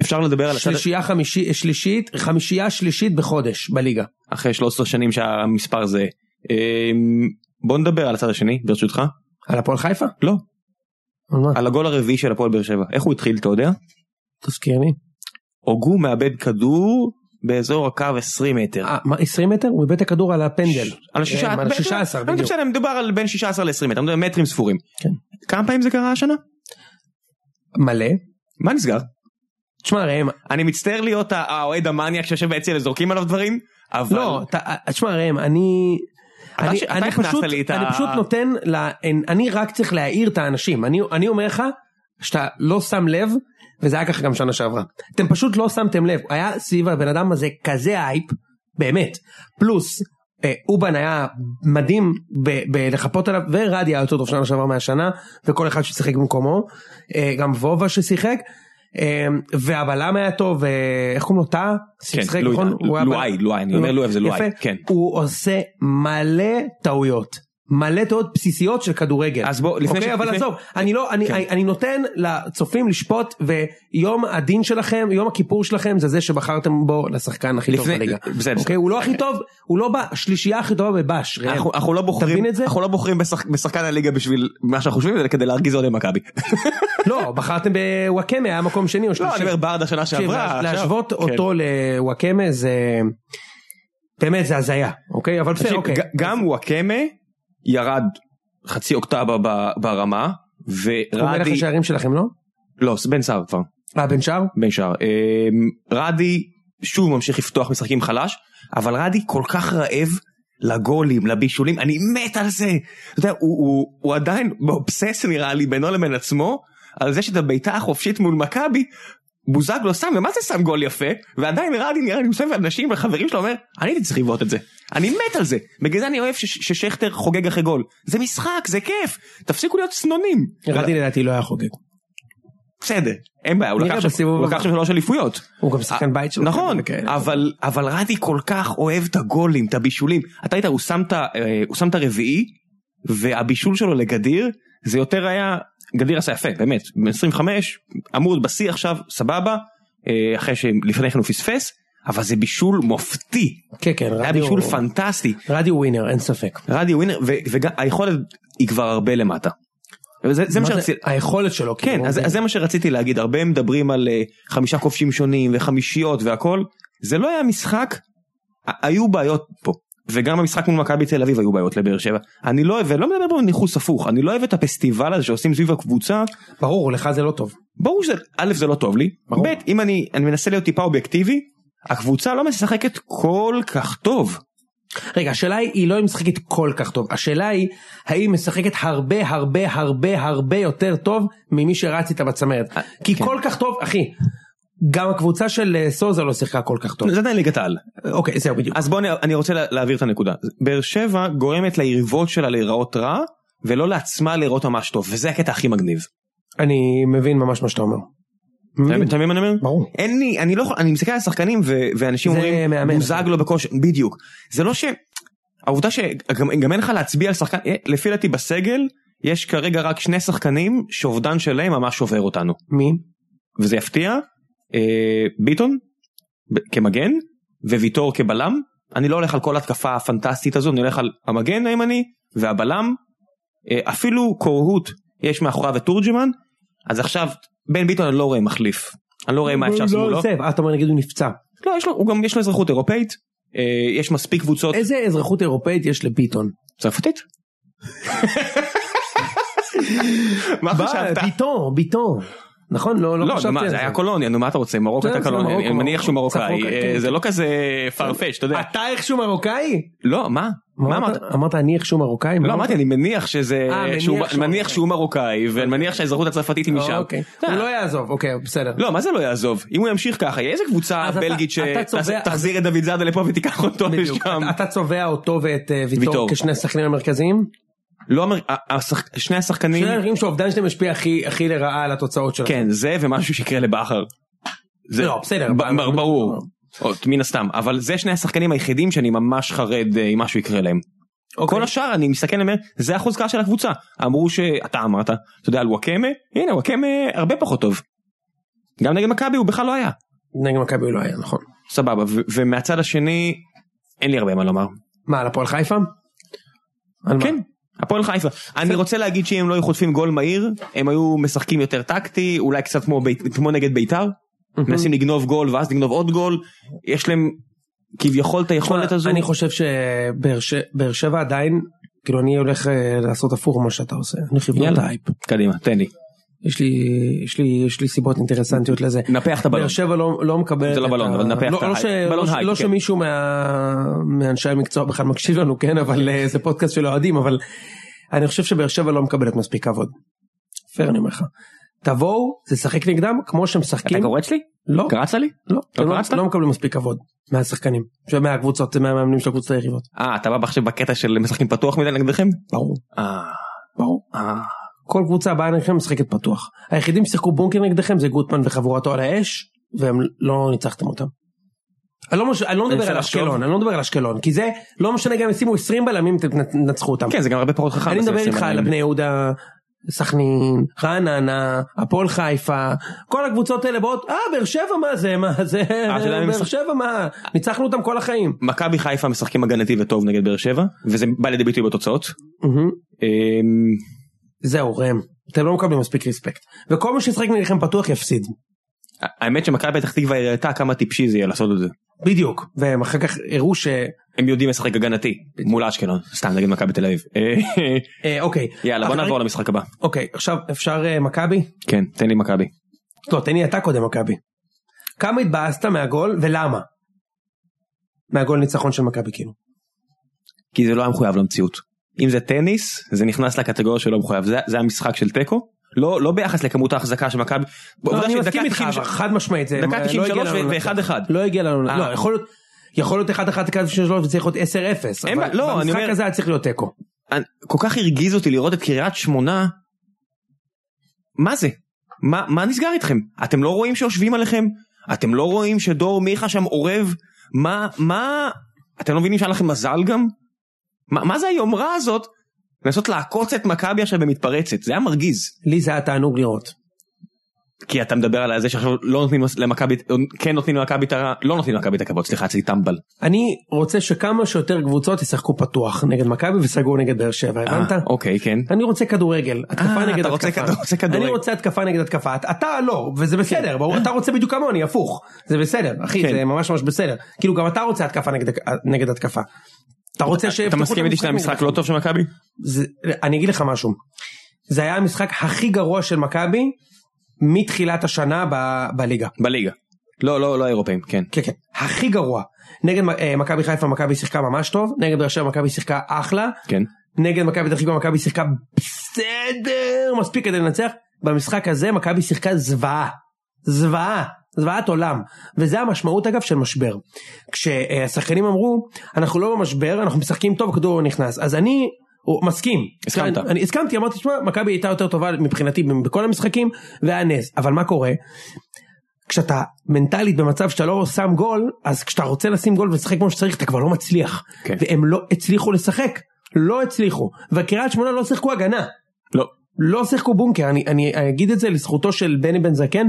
Speaker 1: אפשר לדבר על הצד
Speaker 2: שלישייה חמישי- שלישית, חמישייה שלישית בחודש בליגה.
Speaker 1: אחרי 13 שנים שהמספר זה. אמ, בוא נדבר על הצד השני ברשותך.
Speaker 2: על הפועל חיפה?
Speaker 1: לא.
Speaker 2: על מה?
Speaker 1: על הגול הרביעי של הפועל באר שבע. איך הוא התחיל אתה יודע?
Speaker 2: תזכיר לי.
Speaker 1: הוגו מאבד כדור באזור הקו 20 מטר.
Speaker 2: אה, מה, 20 מטר? הוא איבד את הכדור על הפנדל.
Speaker 1: על השישה-
Speaker 2: כן, על
Speaker 1: ב-
Speaker 2: 16,
Speaker 1: לא, לא
Speaker 2: בדיוק.
Speaker 1: משנה, מדובר על בין 16 ל-20 מטר, מדובר על מטרים ספורים.
Speaker 2: כן.
Speaker 1: כמה פעמים זה קרה השנה?
Speaker 2: מלא.
Speaker 1: מה נסגר?
Speaker 2: תשמע ראם,
Speaker 1: אני מצטער להיות ה- האוהד המניאק שיושב ביציע וזורקים עליו דברים, אבל...
Speaker 2: לא, אתה- תשמע ראם, אני...
Speaker 1: אתה
Speaker 2: אני,
Speaker 1: ש- אתה
Speaker 2: אני,
Speaker 1: הכנסת
Speaker 2: פשוט,
Speaker 1: לי את
Speaker 2: אני
Speaker 1: ה-
Speaker 2: פשוט נותן, לה, אני רק צריך להעיר את האנשים, אני, אני אומר לך שאתה לא שם לב, וזה היה ככה גם שנה שעברה, אתם פשוט לא שמתם לב, היה סביב הבן אדם הזה כזה הייפ, באמת, פלוס אה, אובן היה מדהים ב- בלחפות עליו, ורדי היה יותר טוב שנה שעברה מהשנה, וכל אחד ששיחק במקומו, אה, גם וובה ששיחק. אה, והבלם היה טוב, אה, איך קוראים לו? טאה? ששיחק,
Speaker 1: כן, לואי-
Speaker 2: נכון? הוא היה
Speaker 1: לואי,
Speaker 2: בלם.
Speaker 1: לואי, אני אומר לואי, אבל זה לואי,
Speaker 2: יפה.
Speaker 1: כן.
Speaker 2: הוא עושה מלא טעויות. מלא טעויות בסיסיות של כדורגל.
Speaker 1: אז בוא, לפני
Speaker 2: אוקיי,
Speaker 1: ש-
Speaker 2: אבל
Speaker 1: לפני-
Speaker 2: עזוב, אני לא, אני,
Speaker 1: כן.
Speaker 2: אני, אני נותן לצופים לשפוט, ויום הדין שלכם, יום הכיפור שלכם, זה זה שבחרתם בו לשחקן הכי טוב
Speaker 1: לפני- אה,
Speaker 2: בליגה.
Speaker 1: בסדר.
Speaker 2: אוקיי, הוא לא הכי טוב, הוא לא בשלישייה הכי טובה בבאש. ראם.
Speaker 1: אנחנו, אנחנו לא בוחרים,
Speaker 2: תבין את זה?
Speaker 1: אנחנו לא בוחרים בשח, בשחקן הליגה בשביל מה שאנחנו חושבים, אלא כדי להרגיז אוהדי מכבי.
Speaker 2: לא, בחרתם בוואקמה, היה מקום שני או שלישי.
Speaker 1: לא, אני אומר ברדה שנה
Speaker 2: תקשיב,
Speaker 1: שעברה.
Speaker 2: להש- להשוות
Speaker 1: עכשיו- כן.
Speaker 2: אותו לוואקמה זה... באמת, זה הזיה, אוקיי? אבל בסדר,
Speaker 1: תקשיב,
Speaker 2: אוקיי.
Speaker 1: ג- גם וואקמה ירד חצי אוקטבה ב- ברמה,
Speaker 2: הוא מלך
Speaker 1: ורדי,
Speaker 2: השערים שלכם, לא?
Speaker 1: לא, בן סער כבר,
Speaker 2: אה, בן שער?
Speaker 1: בן שער. אמ, רדי שוב ממשיך לפתוח משחקים חלש, אבל רדי כל כך רעב לגולים, לבישולים, אני מת על זה. אתה יודע, הוא, הוא, הוא עדיין באובסס נראה לי בינו לבין עצמו, על זה שאת הבעיטה החופשית מול מכבי, בוזגלו שם, ומה זה שם גול יפה? ועדיין רדי נראה לי מסתובב על אנשים וחברים שלו אומר, אני הייתי צריך לבעוט את זה. אני מת על זה. בגלל זה אני אוהב ש- ש- ששכטר חוגג אחרי גול. זה משחק, זה כיף. תפסיקו להיות שנונים.
Speaker 2: רדי לדעתי לא היה חוגג.
Speaker 1: בסדר, אין בעיה, הוא
Speaker 2: נראה
Speaker 1: לקח שם-
Speaker 2: בסיבוב
Speaker 1: הוא
Speaker 2: הבא.
Speaker 1: לקח שם שלוש אליפויות.
Speaker 2: הוא גם שחקן בית שלו. כן,
Speaker 1: נכון,
Speaker 2: וכאלה.
Speaker 1: אבל, אבל רדי כל כך אוהב את הגולים, את הבישולים. אתה ראית, הוא שם את ה- אה, הוא שם את הרביעי, והבישול שלו לגדיר, זה יותר היה, גדיר עשה יפה, באמת, ב-25, אמור להיות בשיא עכשיו, סבבה, אה, אחרי שלפני כן הוא פספס, אבל זה בישול מופתי,
Speaker 2: כן, כן,
Speaker 1: היה
Speaker 2: רדי
Speaker 1: בישול
Speaker 2: הוא...
Speaker 1: פנטסטי.
Speaker 2: רדי הוא ווינר, אין ספק.
Speaker 1: רדי ווינר, והיכולת היא כבר הרבה למטה. וזה, זה מה
Speaker 2: מה זה-
Speaker 1: שרציתי,
Speaker 2: היכולת שלו,
Speaker 1: כן,
Speaker 2: כאילו,
Speaker 1: אז,
Speaker 2: הוא-
Speaker 1: אז זה מה שרציתי להגיד, הרבה מדברים על אה, חמישה כובשים שונים וחמישיות והכל, זה לא היה משחק, ה- היו בעיות פה, וגם במשחק מול מכבי תל אביב היו בעיות לבאר שבע, אני לא אוהב, ולא מדבר פה על ניכוס הפוך, אני לא אוהב את הפסטיבל הזה שעושים סביב הקבוצה,
Speaker 2: ברור, לך זה לא טוב.
Speaker 1: ברור שזה, א' זה לא טוב לי,
Speaker 2: ברור.
Speaker 1: ב' אם אני, אני מנסה להיות טיפה אובייקטיבי, הקבוצה לא משחקת כל כך טוב,
Speaker 2: רגע, השאלה היא, היא לא אם משחקת כל כך טוב, השאלה היא, האם משחקת הרבה הרבה הרבה הרבה יותר טוב ממי שרץ איתה בצמרת.
Speaker 1: אה,
Speaker 2: כי
Speaker 1: כן.
Speaker 2: כל כך טוב, אחי, גם הקבוצה של אה, סוזה לא שיחקה כל כך טוב.
Speaker 1: זה עדיין ליגת העל.
Speaker 2: אוקיי, זהו בדיוק.
Speaker 1: אז בואו אני רוצה לה- להבהיר את הנקודה. באר שבע גורמת ליריבות שלה להיראות רע, ולא לעצמה להיראות ממש טוב, וזה הקטע הכי מגניב.
Speaker 2: אני מבין ממש מה שאתה אומר.
Speaker 1: אתה מבין- אתה מבין מה אני אומר?
Speaker 2: ברור.
Speaker 1: אין לי, אני לא יכול, אני מסתכל על השחקנים ו- ואנשים
Speaker 2: זה
Speaker 1: אומרים,
Speaker 2: מאמן.
Speaker 1: בוזגלו בכושר, בדיוק. זה לא ש... העובדה שגם גם אין לך להצביע על שחקן, אה, לפי דעתי בסגל, יש כרגע רק שני שחקנים שאובדן שלהם ממש שובר אותנו.
Speaker 2: מי?
Speaker 1: וזה יפתיע, אה, ביטון ב- כמגן וויטור כבלם. אני לא הולך על כל התקפה הפנטסטית הזו, אני הולך על המגן הימני והבלם. אה, אפילו קורהוט יש מאחוריו את תורג'מן, אז עכשיו בן ביטון אני לא רואה מחליף. אני לא רואה מה אפשר
Speaker 2: הוא
Speaker 1: לעשות מולו.
Speaker 2: לא עוזב, אה, אתה אומר נגיד הוא נפצע.
Speaker 1: לא, יש לו, הוא גם יש לו אזרחות אירופאית, אה, יש מספיק קבוצות.
Speaker 2: איזה אזרחות אירופאית יש לביטון?
Speaker 1: צרפתית? מה חשבת?
Speaker 2: ביטון, ביטון. נכון? לא, לא
Speaker 1: לא,
Speaker 2: חשבתי
Speaker 1: מה,
Speaker 2: על
Speaker 1: זה
Speaker 2: זה.
Speaker 1: היה קולוניה, נו מה אתה רוצה, מרוקו
Speaker 2: זה-
Speaker 1: הייתה
Speaker 2: זה
Speaker 1: קולוניה,
Speaker 2: מרוקו,
Speaker 1: אני מניח שהוא
Speaker 2: מרוקו.
Speaker 1: מרוקאי,
Speaker 2: צרפוקאי,
Speaker 1: אה,
Speaker 2: כן.
Speaker 1: זה לא כזה farfetch, אתה יודע.
Speaker 2: אתה איכשהו מרוקאי?
Speaker 1: לא, מה? מה
Speaker 2: אמרת? אמרת אני איכשהו מרוקאי?
Speaker 1: לא אמרתי אני מניח שזה
Speaker 2: אה, מניח
Speaker 1: שהוא-
Speaker 2: שהוא-
Speaker 1: מניח שהוא מרוקאי ואני מניח שהאזרחות הצרפתית היא משם.
Speaker 2: אוקיי.
Speaker 1: אה,
Speaker 2: הוא לא יעזוב, אוקיי, בסדר.
Speaker 1: לא מה זה לא יעזוב אם הוא ימשיך ככה יהיה איזה קבוצה
Speaker 2: אז אתה-
Speaker 1: בלגית
Speaker 2: אתה צובע-
Speaker 1: שתחזיר את דוד זאדה לפה ותיקח אותו
Speaker 2: בדיוק.
Speaker 1: לשם.
Speaker 2: אתה- אתה צובע אותו ואת אה, ויטור
Speaker 1: ויטור.
Speaker 2: כשני השחקנים המרכזיים?
Speaker 1: לא אמר- ה- השחק- שני השחקנים
Speaker 2: שני המרכזיים שהאובדן שלהם משפיע הכי הכי לרעה על התוצאות שלהם.
Speaker 1: כן זה ומשהו שיקרה לבכר. זה-
Speaker 2: לא, בסדר.
Speaker 1: ב-
Speaker 2: אבל-
Speaker 1: ב- ברור. עוד, מן הסתם אבל זה שני השחקנים היחידים שאני ממש חרד אה, אם משהו יקרה להם.
Speaker 2: אוקיי.
Speaker 1: כל השאר אני מסתכל ואומר זה החוזקה של הקבוצה אמרו שאתה אמרת אתה יודע על וואקמה הנה וואקמה הרבה פחות טוב. גם נגד מכבי הוא בכלל לא היה
Speaker 2: נגד מכבי הוא לא היה, נכון.
Speaker 1: סבבה ו- ומהצד השני אין לי הרבה מה לומר
Speaker 2: מה, על הפועל חיפה? על מה?
Speaker 1: כן. הפועל חיפה אני רוצה להגיד שאם הם לא היו חוטפים גול מהיר הם היו משחקים יותר טקטי אולי קצת כמו, בית, כמו נגד ביתר מנסים לגנוב גול ואז לגנוב עוד גול יש להם כביכול את היכולת הזו
Speaker 2: אני חושב שבאר ש- באר שבע עדיין, כאילו אני הולך אה, לעשות הפוך ממה שאתה עושה. אני חיוון את
Speaker 1: יאללה.
Speaker 2: האייפ.
Speaker 1: קדימה תן לי
Speaker 2: יש לי, יש לי, יש לי סיבות אינטרסנטיות לזה.
Speaker 1: נפח את הבלון
Speaker 2: באר שבע לא, לא מקבלת
Speaker 1: זה לא
Speaker 2: את
Speaker 1: בלון,
Speaker 2: ה-
Speaker 1: אבל נפח
Speaker 2: לא,
Speaker 1: את
Speaker 2: לא,
Speaker 1: ההייפ.
Speaker 2: ש...
Speaker 1: בלון
Speaker 2: לא, ש-
Speaker 1: הייפ, כן.
Speaker 2: לא שמישהו מה... מאנשי המקצוע בכלל מקשיב לנו, כן, אבל אה, זה פודקאסט של אוהדים, אבל אני חושב שבאר שבע לא מקבלת מספיק כבוד. פייר אני אומר לך. תבואו, תשחק נגדם כמו שהם
Speaker 1: אתה
Speaker 2: משחקים.
Speaker 1: קורץ לי?
Speaker 2: לא,
Speaker 1: קרצת לי?
Speaker 2: לא, אתם לא,
Speaker 1: קרצת?
Speaker 2: לא מקבלים מספיק כבוד מהשחקנים, מהקבוצות, מהמאמנים של הקבוצות היריבות.
Speaker 1: אה אתה בא עכשיו בקטע של משחקים פתוח מדי נגדכם?
Speaker 2: ברור,
Speaker 1: אה,
Speaker 2: ברור.
Speaker 1: אה.
Speaker 2: כל קבוצה הבאה נגדכם משחקת פתוח. היחידים ששיחקו בונקר נגדכם זה גוטמן וחבורתו על האש, והם לא ניצחתם אותם. אני לא, מש... אני לא מדבר
Speaker 1: מנסה
Speaker 2: על
Speaker 1: לחשוב.
Speaker 2: אשקלון, אני לא מדבר על אשקלון, כי זה לא משנה גם אם ישימו 20 בלמים, אתם תנצחו אותם.
Speaker 1: כן זה גם הרבה פחות חכם.
Speaker 2: אני
Speaker 1: לשים
Speaker 2: מדבר איתך
Speaker 1: סימנים.
Speaker 2: על בני יהודה, סכנין, רעננה, הפועל חיפה, כל הקבוצות האלה באות, אה באר שבע מה זה, מה זה,
Speaker 1: אה, אתה יודע מי
Speaker 2: באר
Speaker 1: משחק-
Speaker 2: שבע מה, ניצחנו אותם כל החיים.
Speaker 1: מכבי חיפה משחקים הגנתי וטוב נגד באר שבע וזה בא לידי ביטוי בתוצאות.
Speaker 2: מהמם.
Speaker 1: אמ,
Speaker 2: זהו ראם, אתם לא מקבלים מספיק ריספקט. וכל מי שישחק נגדכם פתוח יפסיד.
Speaker 1: האמת שמכבי פתח תקווה הראתה כמה טיפשי זה יהיה לעשות את זה.
Speaker 2: בדיוק, והם אחר כך הראו ש...
Speaker 1: הם יודעים לשחק הגנתי מול אשקלון סתם נגד מכבי תל אביב. אה,
Speaker 2: אה, אוקיי.
Speaker 1: יאללה בוא
Speaker 2: אבל-
Speaker 1: נעבור למשחק הבא.
Speaker 2: אוקיי, עכשיו אפשר אה, מכבי?
Speaker 1: כן תן לי מכבי.
Speaker 2: לא, תן לי אתה קודם מכבי. כמה התבאסת מהגול ולמה? מהגול ניצחון של מכבי כאילו.
Speaker 1: כי זה לא היה מחויב למציאות. אם זה טניס זה נכנס לקטגוריה שלא מחויב זה, זה המשחק של תיקו לא לא ביחס לכמות ההחזקה של מכבי.
Speaker 2: לא,
Speaker 1: עובדה
Speaker 2: אני
Speaker 1: שדקה
Speaker 2: מסכים איתך,
Speaker 1: 93
Speaker 2: אבל חד משמעית זה...
Speaker 1: דקה
Speaker 2: לא
Speaker 1: 93
Speaker 2: הגיע לנו לנצח.
Speaker 1: ואחד אחד.
Speaker 2: לא הגיע לנו,
Speaker 1: אה.
Speaker 2: לא, יכול להיות... יכול להיות 1-1 דקה 93 וצריך להיות 10-0.
Speaker 1: אין
Speaker 2: אבל
Speaker 1: בעיה, לא, אני
Speaker 2: במשחק
Speaker 1: אומר-
Speaker 2: הזה היה צריך להיות תיקו.
Speaker 1: אני- כל כך הרגיז אותי לראות את קריית שמונה. מה זה? מה, מה נסגר איתכם? אתם לא רואים שיושבים עליכם? אתם לא רואים שדור מיכה שם אורב? מה, מה, אתם לא מבינים שהיה לכם מזל גם? מה, מה זה היומרה הזאת? לנסות לעקוץ את מכבי עכשיו במתפרצת, זה היה מרגיז.
Speaker 2: לי זה היה תענוג לראות.
Speaker 1: כי אתה מדבר על זה שעכשיו לא נותנים למכבי, כן נותנים למכבי את ה... לא נותנים למכבי את הכבוד, סליחה, אצלי טמבל.
Speaker 2: אני רוצה שכמה שיותר קבוצות ישחקו פתוח נגד מכבי וסגור נגד באר שבע, הבנת?
Speaker 1: אה, אוקיי, כן.
Speaker 2: אני רוצה כדורגל, התקפה
Speaker 1: אה,
Speaker 2: נגד
Speaker 1: אתה רוצה-
Speaker 2: התקפה.
Speaker 1: אתה רוצה כדורגל.
Speaker 2: אני רוצה התקפה נגד התקפה, את- אתה לא, וזה בסדר, ברור, אתה רוצה בדיוק כמוני, הפוך. זה בסדר, אחי,
Speaker 1: כן.
Speaker 2: זה ממש ממש בסדר. כאילו גם אתה רוצה התקפה נגד- נגד התקפה. אתה רוצה ש...
Speaker 1: אתה מסכים איתי שזה היה משחק לא טוב של מכבי?
Speaker 2: אני אגיד לך משהו. זה היה המשחק הכי גרוע של מכבי מתחילת השנה ב- בליגה.
Speaker 1: בליגה. לא, לא, לא האירופאים, כן.
Speaker 2: כן כן, הכי גרוע. נגד אה, מכבי חיפה מכבי שיחקה ממש טוב, נגד באר שבע מכבי שיחקה אחלה,
Speaker 1: כן.
Speaker 2: נגד מכבי פתח תקווה מכבי שיחקה בסדר מספיק כדי לנצח במשחק הזה מכבי שיחקה זוועה זוועה זוועת עולם וזה המשמעות אגב של משבר כשהשחקנים אמרו אנחנו לא במשבר אנחנו משחקים טוב הכדור לא נכנס אז אני הוא, מסכים כן,
Speaker 1: הסכמת.
Speaker 2: אני, אני הסכמתי אמרתי תשמע מכבי הייתה יותר טובה מבחינתי בכל המשחקים והיה נס אבל מה קורה כשאתה מנטלית במצב שאתה לא שם גול, אז כשאתה רוצה לשים גול ולשחק כמו שצריך, אתה כבר לא מצליח.
Speaker 1: כן.
Speaker 2: והם לא הצליחו לשחק, לא הצליחו. וקריית שמונה לא שיחקו הגנה,
Speaker 1: לא.
Speaker 2: לא שיחקו בונקר, אני, אני אגיד את זה לזכותו של בני בן זקן,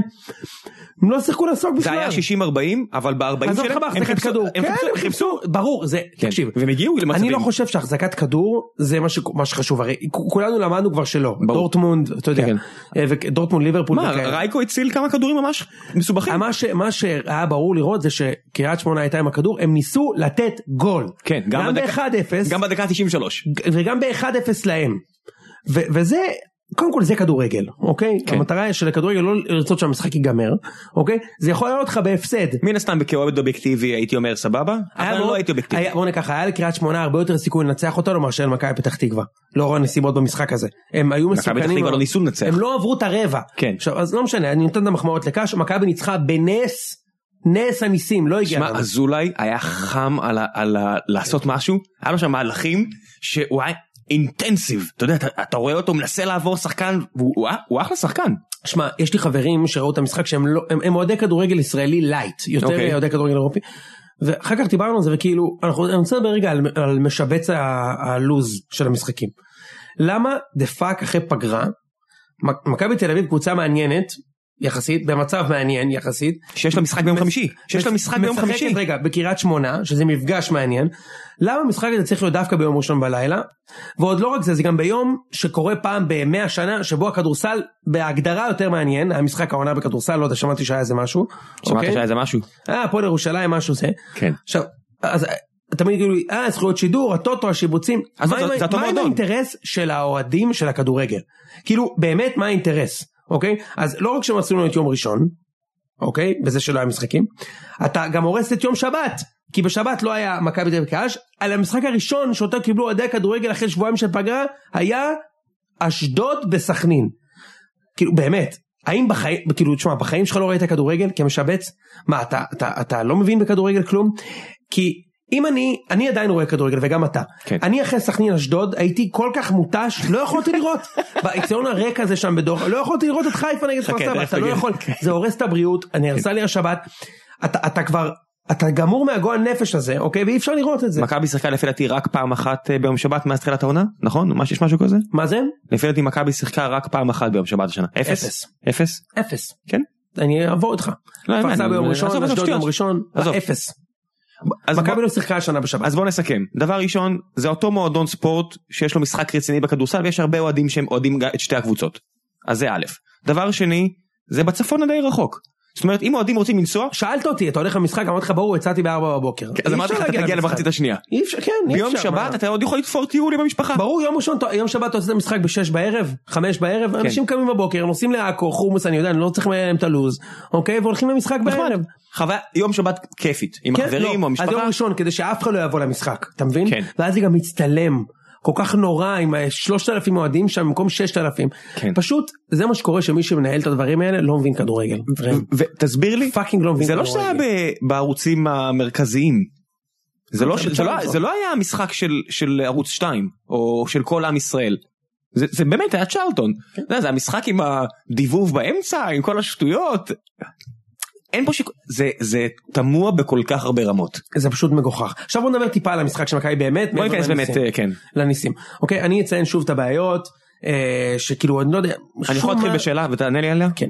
Speaker 2: הם לא שיחקו לעסוק בכלל.
Speaker 1: זה היה 60-40 אבל ב-40
Speaker 2: עזוב
Speaker 1: שלהם
Speaker 2: אותך בהחזקת כדור.
Speaker 1: הם
Speaker 2: כן,
Speaker 1: חיפשו,
Speaker 2: הם חיפשו, ברור, זה,
Speaker 1: כן.
Speaker 2: תקשיב.
Speaker 1: והם הגיעו למצבים.
Speaker 2: אני לא חושב שהחזקת כדור זה מה, ש... מה שחשוב, הרי כ- כולנו למדנו כבר שלא,
Speaker 1: ברור.
Speaker 2: דורטמונד, אתה יודע,
Speaker 1: כן,
Speaker 2: אה, ודורטמונד ליברפול,
Speaker 1: מה
Speaker 2: וכאלה.
Speaker 1: רייקו הציל כמה כדורים ממש מסובכים.
Speaker 2: מה, ש, מה שהיה ברור לראות זה שקריית שמונה הייתה עם הכדור, הם ניסו לתת גול.
Speaker 1: כן, גם
Speaker 2: גם
Speaker 1: בדקה-
Speaker 2: ב-1-0,
Speaker 1: גם בדקה 93.
Speaker 2: וגם ב-1-0 להם. ו- וזה קודם כל זה כדורגל, אוקיי?
Speaker 1: כן.
Speaker 2: המטרה של הכדורגל לא לרצות שהמשחק ייגמר, אוקיי? זה יכול לעלות לך בהפסד.
Speaker 1: מן הסתם כאוהד אובייקטיבי הייתי אומר סבבה,
Speaker 2: היה
Speaker 1: אבל
Speaker 2: מאוד-
Speaker 1: לא הייתי אובייקטיבי.
Speaker 2: היה- בוא נגיד ככה, היה לקריית שמונה הרבה יותר סיכוי לנצח אותנו מאשר למכבי פתח תקווה. לאור הנסיבות במשחק הזה. הם היו
Speaker 1: מכבי פתח
Speaker 2: מסוכנים.
Speaker 1: תקווה
Speaker 2: אבל-
Speaker 1: לא ניסו לנצח.
Speaker 2: הם לא עברו את הרבע.
Speaker 1: כן.
Speaker 2: עכשיו, אז לא משנה, אני נותן את המחמאות לקאש, מכבי ניצחה בנס, נס הניסים, לא הגיע.
Speaker 1: שמע,
Speaker 2: לנו.
Speaker 1: אזולאי היה חם על, ה, על ה,
Speaker 2: כן.
Speaker 1: לעשות משהו, היה לו שם מהלכים שהוא היה אינטנסיב, אתה יודע, אתה, אתה רואה אותו מנסה לעבור שחקן, והוא הוא, הוא אחלה שחקן.
Speaker 2: שמע, יש לי חברים שראו את המשחק שהם לא, הם, הם אוהדי כדורגל ישראלי לייט, יותר
Speaker 1: אוקיי.
Speaker 2: okay. אוהדי כדורגל אירופי. ואחר כך דיברנו על זה וכאילו, אנחנו, אני רוצה לדבר רגע על, על משבץ ה- הלוז של המשחקים. למה דה פאק אחרי פגרה, מק- מכבי תל אביב קבוצה מעניינת, יחסית, במצב מעניין יחסית.
Speaker 1: שיש לה משחק ביום חמישי, שיש לה משחק ביום
Speaker 2: משחקת,
Speaker 1: חמישי.
Speaker 2: רגע, בקריית שמונה, שזה מפגש מעניין. למה המשחק הזה צריך להיות דווקא ביום ראשון בלילה? ועוד לא רק זה, זה גם ביום שקורה פעם במאה שנה, שבו הכדורסל בהגדרה יותר מעניין, המשחק העונה בכדורסל, לא יודע, שמעתי שהיה איזה משהו.
Speaker 1: שמעת
Speaker 2: אוקיי?
Speaker 1: שהיה איזה משהו?
Speaker 2: אה, הפועל ירושלים, משהו זה.
Speaker 1: כן.
Speaker 2: עכשיו, אז אה, תמיד כאילו, אה, זכויות שידור, הטוטו, השיבוצים.
Speaker 1: אז
Speaker 2: מה
Speaker 1: זה-
Speaker 2: עם-
Speaker 1: זה אותו
Speaker 2: מה עם
Speaker 1: מועדון.
Speaker 2: האינטרס של האוהדים של הכדורגל? כאילו, באמת מה האינטרס, אוקיי? אז לא רק שהם עשו לנו את יום ראשון, אוקיי? בזה שלא היה משחקים, אתה גם הורס את יום שבת. כי בשבת לא היה מכבי תל אביב קאש, על המשחק הראשון שאותו קיבלו אוהדי הכדורגל אחרי שבועיים של פגרה, היה אשדוד בסכנין. כאילו באמת, האם בחיים, כאילו תשמע, בחיים שלך לא ראית כדורגל כמשבץ? מה, אתה, אתה, אתה לא מבין בכדורגל כלום? כי אם אני, אני עדיין רואה כדורגל וגם אתה.
Speaker 1: כן.
Speaker 2: אני אחרי סכנין אשדוד הייתי כל כך מותש, לא יכולתי לראות. באיצטדיון הריק הזה שם בדוח, לא יכולתי לראות את חיפה נגד כפר
Speaker 1: חכה,
Speaker 2: סבא,
Speaker 1: תכף כן.
Speaker 2: אתה לא
Speaker 1: נגיד.
Speaker 2: יכול, זה הורס את הבריאות, נהרסה לי השבת. אתה, אתה כבר, אתה גמור מהגועל נפש הזה, אוקיי? ואי אפשר לראות את זה.
Speaker 1: מכבי שיחקה לפי דעתי רק פעם אחת אה, ביום שבת מאז תחילת העונה, נכון? מה- יש משהו כזה?
Speaker 2: מה זה?
Speaker 1: לפי דעתי מכבי שיחקה רק פעם אחת ביום שבת השנה. אפס?
Speaker 2: אפס.
Speaker 1: אפס?
Speaker 2: אפס.
Speaker 1: כן.
Speaker 2: אני אעבור איתך.
Speaker 1: לא, אין
Speaker 2: כפר
Speaker 1: בעיה,
Speaker 2: סבא ביום
Speaker 1: אני- עזוב,
Speaker 2: ראשון,
Speaker 1: עזוב,
Speaker 2: אשדוד
Speaker 1: שטויות.
Speaker 2: יום ראשון,
Speaker 1: עזוב.
Speaker 2: אפס.
Speaker 1: אז בוא-
Speaker 2: מכבי לא שיחקה השנה בשבת.
Speaker 1: אז בואו נסכם. דבר ראשון, זה אותו מועדון ספורט שיש לו משחק רציני בכדורסל ויש הרבה אוהדים שהם אוהדים גם את שתי הקבוצות. אז זה א'. דבר שני, זה בצפון הדי רחוק. זאת אומרת, אם אוהדים רוצים לנסוע,
Speaker 2: שאלת אותי, אתה הולך למשחק, אמרתי לך, ברור, יצאתי בארבע בבוקר.
Speaker 1: כן, אז
Speaker 2: אי
Speaker 1: אמרתי לך,
Speaker 2: אפשר
Speaker 1: אתה
Speaker 2: להגיע
Speaker 1: תגיע
Speaker 2: למשחק.
Speaker 1: למחצית השנייה.
Speaker 2: אי אפשר, כן, אי
Speaker 1: ביום
Speaker 2: אפשר,
Speaker 1: שבת
Speaker 2: מה?
Speaker 1: אתה עוד יכול לתפור טיול עם המשפחה.
Speaker 2: ברור, יום ראשון, יום שבת אתה עושה את המשחק בשש בערב, חמש
Speaker 1: כן.
Speaker 2: בערב, אנשים קמים בבוקר, הם נוסעים לעכו, חומוס, אני יודע, אני לא צריך למלא להם את הלו"ז, אוקיי? והולכים למשחק
Speaker 1: נחמד.
Speaker 2: בערב.
Speaker 1: חוויה, יום שבת כיפית, עם
Speaker 2: כן,
Speaker 1: החברים
Speaker 2: לא.
Speaker 1: נכון. או המשפחה.
Speaker 2: אז יום ראשון, כדי שאף אחד לא יבוא למשחק, אתה מבין?
Speaker 1: כן.
Speaker 2: ואז זה גם מצטלם. כל כך נורא עם ה- 3,000 אוהדים שם במקום 6,000.
Speaker 1: כן.
Speaker 2: פשוט זה מה שקורה שמי שמנהל את הדברים האלה לא מבין כדורגל.
Speaker 1: ותסביר לי,
Speaker 2: פאקינג לא מבין
Speaker 1: זה לא
Speaker 2: כדורגל.
Speaker 1: שזה היה ב- בערוצים המרכזיים. זה לא,
Speaker 2: זה
Speaker 1: ש- זה,
Speaker 2: אפשר
Speaker 1: לא,
Speaker 2: לראות.
Speaker 1: זה לא היה המשחק של, של ערוץ 2 או של כל עם ישראל. זה, זה באמת היה צ'רלטון.
Speaker 2: כן.
Speaker 1: אתה יודע, זה המשחק עם הדיבוב באמצע, עם כל השטויות. אין פה שיק... זה, זה תמוה בכל כך הרבה רמות.
Speaker 2: זה פשוט מגוחך. עכשיו בוא נדבר טיפה על המשחק של מכבי באמת.
Speaker 1: בוא
Speaker 2: מעבר
Speaker 1: ניכנס באמת,
Speaker 2: לניסים.
Speaker 1: אה, כן.
Speaker 2: לניסים. אוקיי, אני אציין שוב את הבעיות, אה, שכאילו, אני לא יודע,
Speaker 1: אני יכול
Speaker 2: שום
Speaker 1: להתחיל
Speaker 2: מה-
Speaker 1: בשאלה ותענה לי עליה?
Speaker 2: כן.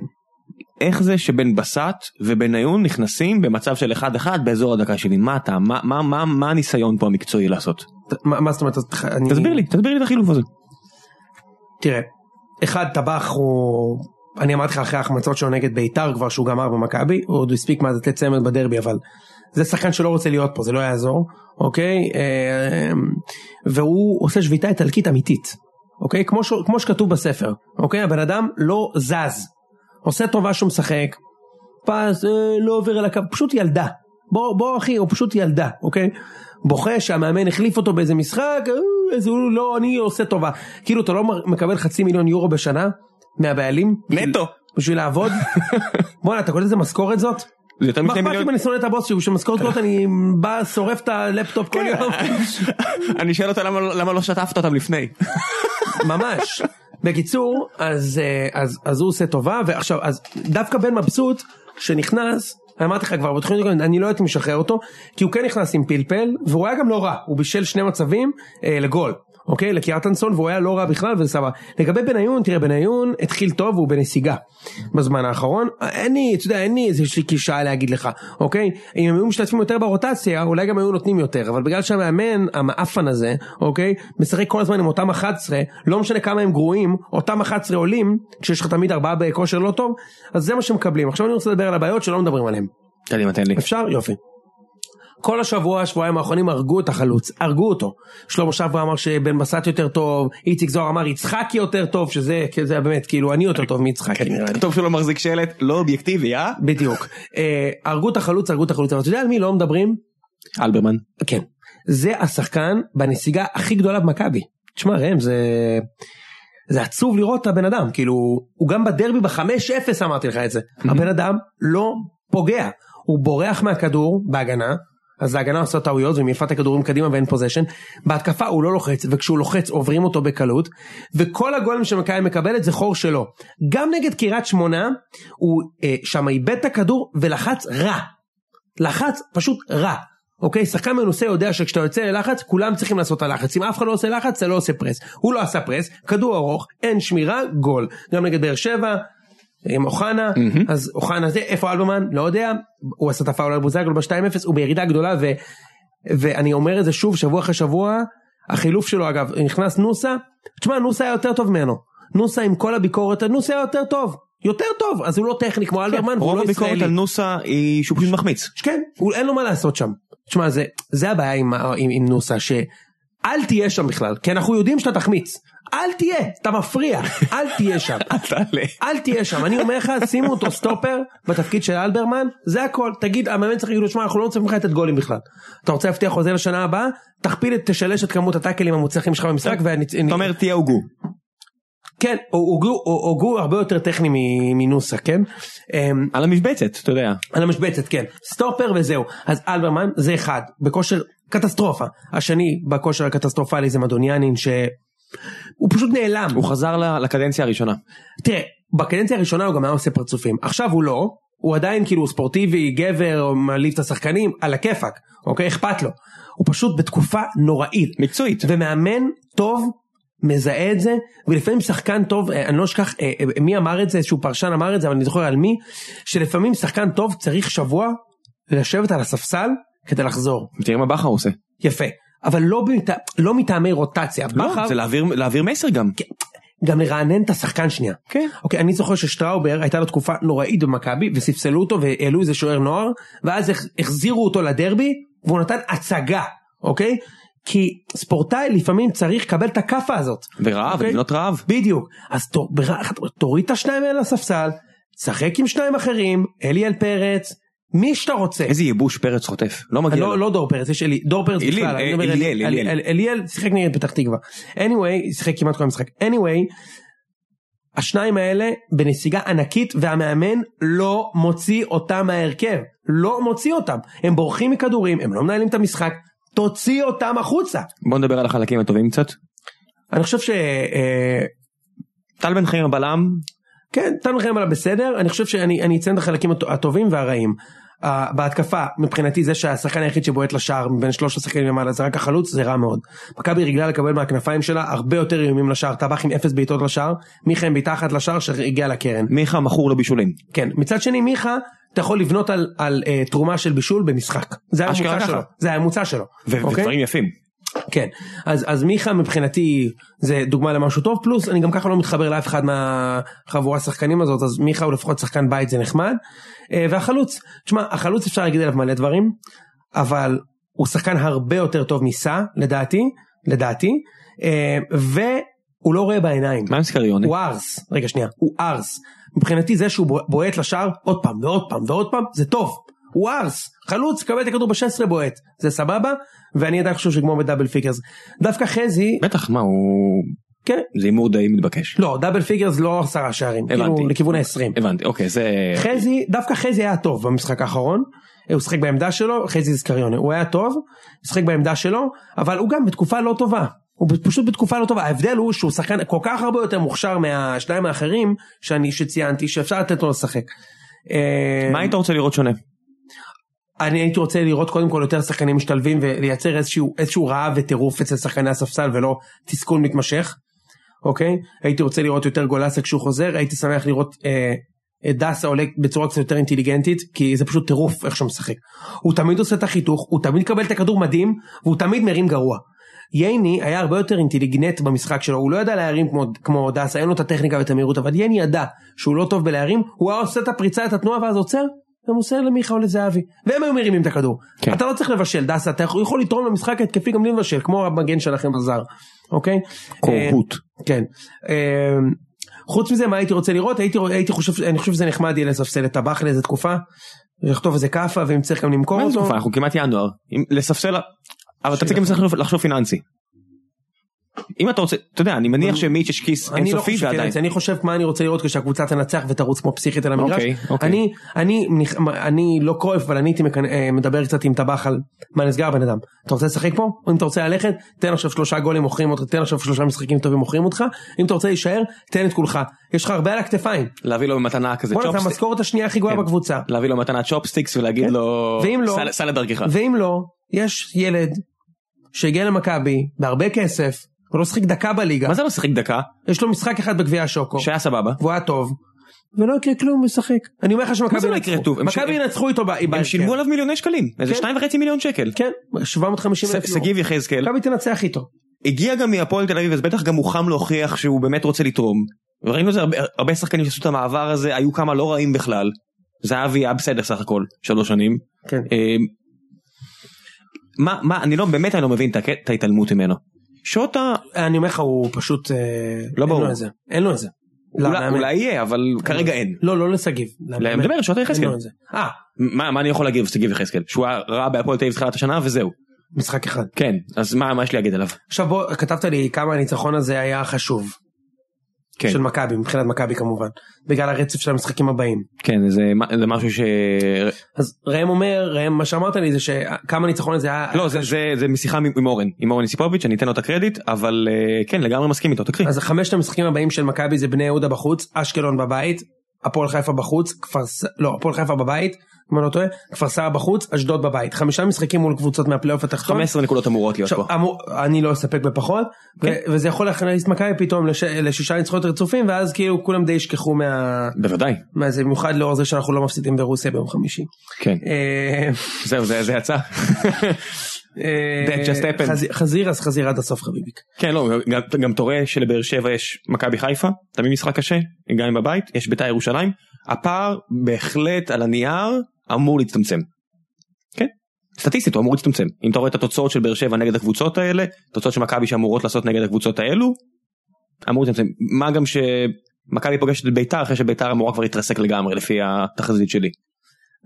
Speaker 1: איך זה שבן בסט ובניון נכנסים במצב של 1-1 באזור הדקה שלי? מה אתה, מה, מה, מה, מה הניסיון פה המקצועי לעשות?
Speaker 2: ת- מה מה זאת אומרת? אז תח- אני-
Speaker 1: תסביר לי, תסביר לי את החילוף הזה.
Speaker 2: תראה, אחד טבח הוא, אני אמרתי לך אחרי ההחמצות שלו נגד ביתר כבר שהוא גמר במכבי, הוא עוד הספיק מה זה לתת צמד בדרבי אבל זה שחקן שלא רוצה להיות פה זה לא יעזור, אוקיי? אה, והוא עושה שביתה איטלקית אמיתית, אוקיי? כמו, ש, כמו שכתוב בספר, אוקיי? הבן אדם לא זז, עושה טובה שהוא משחק, פס, אה, לא עובר על הקו, פשוט ילדה. בוא, בוא אחי, הוא פשוט ילדה, אוקיי? בוכה שהמאמן החליף אותו באיזה משחק, אה, אז הוא לא, אני עושה טובה. כאילו, אתה לא מ- מקבל חצי מיליון יורו בשנה מהבעלים?
Speaker 1: נטו.
Speaker 2: בשביל לעבוד? בואנה, אתה קורא לזה משכורת זאת?
Speaker 1: זה יותר
Speaker 2: מה
Speaker 1: משני
Speaker 2: אכפת לי
Speaker 1: מיליון.
Speaker 2: אם אני שונא את הבוס שלי, בשמשכורת זאת אני בא, שורף את הלפטופ כל יום.
Speaker 1: אני שואל אותה למה, למה לא שטפת אותם לפני.
Speaker 2: ממש. בקיצור, אז, אה, אז, אז הוא עושה טובה, ועכשיו, אז דווקא בן מבסוט שנכנס, אמרתי לך כבר בתוכנית, הקודמת, אני לא הייתי משחרר אותו, כי הוא כן נכנס עם פלפל, והוא היה גם לא רע, הוא בישל שני מצבים אה, לגול. אוקיי? לקיארטנסון והוא היה לא רע בכלל וזה סבבה. לגבי בניון, תראה בניון התחיל טוב והוא בנסיגה בזמן האחרון. אין לי, אתה יודע, אין לי איזושהי קלישאה להגיד לך, אוקיי? אם הם היו משתתפים יותר ברוטציה, אולי גם היו נותנים יותר, אבל בגלל שהמאמן, המאפן הזה, אוקיי? משחק כל הזמן עם אותם 11, לא משנה כמה הם גרועים, אותם 11 עולים, כשיש לך תמיד ארבעה בכושר לא טוב, אז זה מה שמקבלים. עכשיו אני רוצה לדבר על הבעיות שלא מדברים עליהן.
Speaker 1: תן כן, לי, תן לי.
Speaker 2: אפשר? יופי. כל השבוע, שבועיים האחרונים הרגו את החלוץ, הרגו אותו. שלמה שברה אמר שבן בסט יותר טוב, איציק זוהר אמר יצחקי יותר טוב, שזה כי זה באמת, כאילו, אני יותר טוב מיצחקי נראה לי.
Speaker 1: טוב שהוא לא מחזיק שלט, לא אובייקטיבי, אה?
Speaker 2: בדיוק. אה, הרגו את החלוץ, הרגו את החלוץ, אבל אתה יודע על מי לא מדברים?
Speaker 1: אלברמן.
Speaker 2: כן. זה השחקן בנסיגה הכי גדולה במכבי. תשמע ראם, זה... זה עצוב לראות את הבן אדם, כאילו, הוא גם בדרבי ב-5-0 אמרתי לך את זה. הבן אדם לא פוגע, הוא בורח מהכדור בהגנה, אז ההגנה עושה טעויות ומעיפה את הכדורים קדימה ואין פוזיישן, בהתקפה הוא לא לוחץ, וכשהוא לוחץ עוברים אותו בקלות, וכל הגולים שמכבי מקבלת זה חור שלו. גם נגד קריית שמונה, הוא אה, שם איבד את הכדור ולחץ רע. לחץ פשוט רע. אוקיי, שחקן מנוסה יודע שכשאתה יוצא ללחץ, כולם צריכים לעשות את הלחץ. אם אף אחד לא עושה לחץ, זה לא עושה פרס. הוא לא עשה פרס, כדור ארוך, אין שמירה, גול. גם נגד באר שבע, עם אוחנה, אז אוחנה זה, איפה אלברמן? לא יודע. הוא עשה את הפאול על בוזגלו ב-2-0, הוא בירידה גדולה, ו... ואני אומר את זה שוב, שבוע אחרי שבוע, החילוף שלו אגב, נכנס נוסה, תשמע, נוסה היה יותר טוב ממנו. נוסה עם כל הביקורת, נוסה היה יותר טוב. יותר טוב, אז הוא לא טכני כמו אלברמן, והוא
Speaker 1: כן, רוב
Speaker 2: לא
Speaker 1: הביקורת
Speaker 2: ישראלי.
Speaker 1: על נוסה היא שהוא פשוט מחמיץ.
Speaker 2: כן, הוא, אין לו מה לעשות שם. תשמע, זה, זה הבעיה עם, ה- עם, עם נוסה, שאל תהיה שם בכלל, כי אנחנו יודעים שאתה תחמיץ. אל תהיה, אתה מפריע, אל תהיה שם.
Speaker 1: אל תעלה.
Speaker 2: אל תהיה שם, אני אומר לך, שימו אותו סטופר בתפקיד של אלברמן, זה הכל. תגיד, המאמן צריך להגיד לו, שמע, אנחנו לא רוצים ממך לתת גולים בכלל. אתה רוצה להבטיח חוזה לשנה הבאה? תכפיל, את- תשלש את כמות הטאקלים המוצלחים שלך במשחק, ואני...
Speaker 1: אתה אומר תהיה הוגו.
Speaker 2: כן, הוגו- הוגו הרבה יותר טכני מ- מנוסה, כן? אמ,
Speaker 1: על המשבצת, אתה יודע.
Speaker 2: על המשבצת, כן. סטופר וזהו. אז אלברמן זה אחד, בכושר קטסטרופה. השני בכושר הקטסטרופלי זה מדוניאנין, שהוא פשוט נעלם.
Speaker 1: הוא חזר ל- לקדנציה הראשונה.
Speaker 2: תראה, בקדנציה הראשונה הוא גם היה עושה פרצופים, עכשיו הוא לא, הוא עדיין כאילו ספורטיבי, גבר, או מעליב את השחקנים, על הכיפאק, אוקיי? אכפת לו. הוא פשוט בתקופה נוראית.
Speaker 1: מקצועית.
Speaker 2: ומאמן טוב מזהה את זה, ולפעמים שחקן טוב, אה, אני לא אשכח אה, אה, מי אמר את זה, איזשהו פרשן אמר את זה, אבל אני זוכר על מי, שלפעמים שחקן טוב צריך שבוע לשבת על הספסל כדי לחזור.
Speaker 1: תראה מה בכר עושה.
Speaker 2: יפה. אבל לא, בת... לא מטעמי רוטציה,
Speaker 1: לא,
Speaker 2: בכר,
Speaker 1: זה להעביר- להעביר מסר גם.
Speaker 2: גם לרענן את השחקן שנייה.
Speaker 1: כן.
Speaker 2: אוקיי, אני זוכר ששטראובר הייתה לו תקופה נוראית במכבי, וספסלו אותו והעלו איזה שוער נוער, ואז הח- החזירו אותו לדרבי, והוא נתן הצגה, אוקיי? כי ספורטאי לפעמים צריך לקבל את הכאפה הזאת.
Speaker 1: ורעב,
Speaker 2: אוקיי?
Speaker 1: לבנות רעב.
Speaker 2: בדיוק. אז תור- בר- תוריד את השניים האלה לספסל, שחק עם שניים אחרים, אליאל פרץ, מי שאתה רוצה.
Speaker 1: איזה ייבוש פרץ חוטף. לא מגיע לו.
Speaker 2: לא, לא דור פרץ, יש אלי, דור פרץ
Speaker 1: אליל,
Speaker 2: בכלל, אני
Speaker 1: אה,
Speaker 2: מדבר על-
Speaker 1: אליאל,
Speaker 2: על-
Speaker 1: אליאל.
Speaker 2: על- אליאל שיחק נגד פתח תקווה. anyway, שיחק כמעט כל המשחק. anyway, השניים האלה בנסיגה ענקית והמאמן לא מוציא אותם מההרכב, לא מוציא אותם. הם בורחים מכדורים, הם לא מנהלים את המשחק, תוציא אותם החוצה.
Speaker 1: בוא נדבר על החלקים הטובים קצת.
Speaker 2: אני חושב ש... אה,
Speaker 1: טל בן חיים הבלם,
Speaker 2: כן, נתנו לכם עליו בסדר, אני חושב שאני אני אציין את החלקים הט- הטובים והרעים. Uh, בהתקפה, מבחינתי זה שהשחקן היחיד שבועט לשער מבין שלוש השחקנים למעלה זה רק החלוץ, זה רע מאוד. מכבי רגלה לקבל מהכנפיים שלה הרבה יותר איומים לשער, טבח עם אפס בעיטות לשער, מיכה עם בעיטה אחת לשער שהגיעה לקרן.
Speaker 1: מיכה מכור לבישולים.
Speaker 2: כן, מצד שני מיכה, אתה יכול לבנות על, על uh, תרומה של בישול במשחק. זה
Speaker 1: אשכרה
Speaker 2: הממוצע
Speaker 1: ככה.
Speaker 2: שלו. זה הממוצע שלו.
Speaker 1: ו-
Speaker 2: אוקיי?
Speaker 1: ודברים יפים.
Speaker 2: כן, אז, אז מיכה מבחינתי זה דוגמה למשהו טוב, פלוס אני גם ככה לא מתחבר לאף אחד מהחבורה השחקנים הזאת, אז מיכה הוא לפחות שחקן בית זה נחמד. אה, והחלוץ, תשמע, החלוץ אפשר להגיד עליו מלא דברים, אבל הוא שחקן הרבה יותר טוב מסע, לדעתי, לדעתי, אה, והוא לא רואה בעיניים.
Speaker 1: מה עם סקריוני?
Speaker 2: הוא ארס, רגע שנייה, הוא ארס. מבחינתי זה שהוא בוע- בועט לשער עוד פעם ועוד פעם ועוד פעם, זה טוב. הוא ארס, חלוץ, קבל את הכדור ב-16 בועט, זה סבבה, ואני עדיין חושב שגמור בדאבל פיגרס. דווקא חזי,
Speaker 1: בטח, מה, הוא...
Speaker 2: כן,
Speaker 1: זה הימור די מתבקש.
Speaker 2: לא, דאבל פיגרס לא עשרה שערים, כאילו
Speaker 1: הבנתי.
Speaker 2: לכיוון ה-20.
Speaker 1: הבנתי, אוקיי, זה...
Speaker 2: חזי, דווקא חזי היה טוב במשחק האחרון, הוא שיחק בעמדה שלו, חזי זקריונה, הוא היה טוב, שיחק בעמדה שלו, אבל הוא גם בתקופה לא טובה, הוא פשוט בתקופה לא טובה, ההבדל הוא שהוא שחקן כל כך הרבה יותר מוכשר מהשניים האחרים שאני, שציינתי, שאפשר לתת לו לשחק. אה,
Speaker 1: מה היית רוצה לראות שונה?
Speaker 2: אני הייתי רוצה לראות קודם כל יותר שחקנים משתלבים ולייצר איזשהו, איזשהו רעב וטירוף אצל שחקני הספסל ולא תסכול מתמשך, אוקיי? הייתי רוצה לראות יותר גולסה כשהוא חוזר, הייתי שמח לראות אה, את דסה עולה בצורה קצת יותר אינטליגנטית, כי זה פשוט טירוף איך שהוא משחק. הוא תמיד עושה את החיתוך, הוא תמיד מקבל את הכדור מדהים, והוא תמיד מרים גרוע. ייני היה הרבה יותר אינטליגנט במשחק שלו, הוא לא ידע להרים כמו, כמו דסה, אין לו את הטכניקה ואת המהירות, אבל ייני ידע שהוא לא טוב בלהרים, הוא היה עושה את הפריצה, את התנועה ואז עוצר, ומוסר למיכה או לזהבי, והם היו מרימים את הכדור.
Speaker 1: כן.
Speaker 2: אתה לא צריך לבשל, דסה, אתה יכול יכול לתרום למשחק התקפי גם בלי לבשל, כמו המגן שלכם בזר, אוקיי?
Speaker 1: קורקוט.
Speaker 2: אה, כן. אה, חוץ מזה, מה הייתי רוצה לראות? הייתי, רוא- הייתי חושב, אני חושב שזה נחמד יהיה לספסל את טבח לאיזה תקופה, ולכתוב איזה כאפה, ואם צריך גם למכור
Speaker 1: מה זה
Speaker 2: אותו.
Speaker 1: תקופה? אנחנו כמעט ינואר. אם- לספסל... אבל אתה צריך גם לחשוב- לחשוב פיננסי. אם אתה רוצה, אתה יודע, אני מניח שמיץ' כיס
Speaker 2: אני לא
Speaker 1: אינסופי
Speaker 2: חושב
Speaker 1: ועדיין.
Speaker 2: כנס, אני חושב מה אני רוצה לראות כשהקבוצה תנצח ותרוץ כמו פסיכית על המגרש.
Speaker 1: אוקיי, אוקיי.
Speaker 2: אני, אני, נכ- אני לא כואב, אבל אני הייתי מקנ- אה, מדבר קצת עם טבח על מה נסגר הבן אדם. אתה רוצה לשחק פה? או אם אתה רוצה ללכת, תן עכשיו שלושה גולים מוכרים אותך, תן עכשיו שלושה משחקים טובים מוכרים אותך. אם אתה רוצה להישאר, תן את כולך. יש לך הרבה על הכתפיים.
Speaker 1: להביא לו במתנה כזה
Speaker 2: בוא'נה, זה
Speaker 1: צ'ופסטיק.
Speaker 2: המשכורת השנייה הכי גבוהה
Speaker 1: כן.
Speaker 2: בקבוצה.
Speaker 1: להביא לו מתנה צ'ופסטיקס ולהגיד לו...
Speaker 2: ואם לא-
Speaker 1: "סע- סע לדרכך.
Speaker 2: ואם לא, יש ילד שהגיע למכבי בהרבה כסף, הוא לא שיחק דקה בליגה.
Speaker 1: מה זה לא שיחק דקה?
Speaker 2: יש לו משחק אחד בגביע השוקו.
Speaker 1: שהיה סבבה.
Speaker 2: והוא היה טוב. ולא יקרה כלום, הוא ישחק. אני אומר לך
Speaker 1: מה זה
Speaker 2: שמכבי
Speaker 1: לא יקרה טוב? הם ש-
Speaker 2: מכבי ינצחו איתו ב- בהרכב.
Speaker 1: הם שילמו עליו מיליוני שקלים. איזה
Speaker 2: כן.
Speaker 1: שניים וחצי מיליון שקל.
Speaker 2: כן, 750 אלף
Speaker 1: ש- שגיב יחזקאל
Speaker 2: מכבי תנצח איתו.
Speaker 1: הגיע גם מהפועל תל אביב אז בטח גם מוכן להוכיח שהוא באמת רוצה לתרום. ראינו את זה הרבה- הרבה שחקנים שעשו את המעבר הזה היו כמה לא רעים בכלל. זהבי היה בסדר סך הכל שלוש שנים.
Speaker 2: כן.
Speaker 1: אה, מה מה אני לא באמת אני לא מבין את הק- את ההתעלמות ממנו. שוטה
Speaker 2: אני אומר לך, הוא פשוט... אה,
Speaker 1: לא ברור.
Speaker 2: אין לו את זה. אין לו את זה.
Speaker 1: אולי-
Speaker 2: למאמן.
Speaker 1: אולי יהיה אבל כרגע אין.
Speaker 2: לא, לא לשגיב.
Speaker 1: אני
Speaker 2: למאמן.
Speaker 1: מדבר על שוטה
Speaker 2: אין
Speaker 1: יחזקאל.
Speaker 2: לו את זה. אה,
Speaker 1: מה מה אני יכול להגיד על שגיב יחזקאל שהוא היה רע בהפועל תל אביב תחילת השנה וזהו.
Speaker 2: משחק אחד.
Speaker 1: כן אז מה מה יש לי להגיד עליו.
Speaker 2: עכשיו בוא, כתבת לי כמה הניצחון הזה היה חשוב.
Speaker 1: כן.
Speaker 2: של מכבי, מבחינת מכבי כמובן. בגלל הרצף של המשחקים הבאים.
Speaker 1: כן זה מה- זה משהו ש...
Speaker 2: אז ראם אומר, ראם, מה שאמרת לי זה שכמה הניצחון הזה היה...
Speaker 1: לא זה זה זה משיחה עם- עם אורן עם אורן יסיפוביץ' אני אתן לו את הקרדיט אבל אה, כן לגמרי מסכים איתו תקריא.
Speaker 2: אז חמשת המשחקים הבאים של מכבי זה בני יהודה בחוץ, אשקלון בבית, הפועל חיפה בחוץ, כפר ס... לא, הפועל חיפה בבית, אם אני לא טועה, כפר סבא בחוץ, אשדוד בבית. חמישה משחקים מול קבוצות מהפלייאוף התחתון.
Speaker 1: 15 נקודות אמורות להיות
Speaker 2: עכשיו,
Speaker 1: פה.
Speaker 2: אמור, אני לא אסתפק בפחות,
Speaker 1: כן.
Speaker 2: ו- וזה יכול להכניס את מכבי פתאום לש... לשישה ניצחונות רצופים, ואז כאילו כולם די ישכחו מה...
Speaker 1: בוודאי
Speaker 2: מה זה, במיוחד לאור זה שאנחנו לא מפסידים ברוסיה ביום חמישי.
Speaker 1: כן
Speaker 2: אה,
Speaker 1: זהו זה זה יצא.
Speaker 2: אה,
Speaker 1: That just happened.
Speaker 2: חזיר- חזיר אז חזיר עד הסוף חביביק.
Speaker 1: כן לא גם, גם אתה רואה שלבאר שבע יש מכבי חיפה תמיד משחק קשה גם אם בבית יש בית"ר ירושלים הפער בהחלט על הנייר אמור להצטמצם. כן. סטטיסטית הוא אמור להצטמצם אם אתה רואה את התוצאות של באר שבע נגד הקבוצות האלה תוצאות של מכבי שאמורות לעשות נגד הקבוצות האלו. אמור להצטמצם מה גם שמכבי פוגשת את בית"ר אחרי שבית"ר אמורה כבר להתרסק לגמרי לפי התחזית שלי.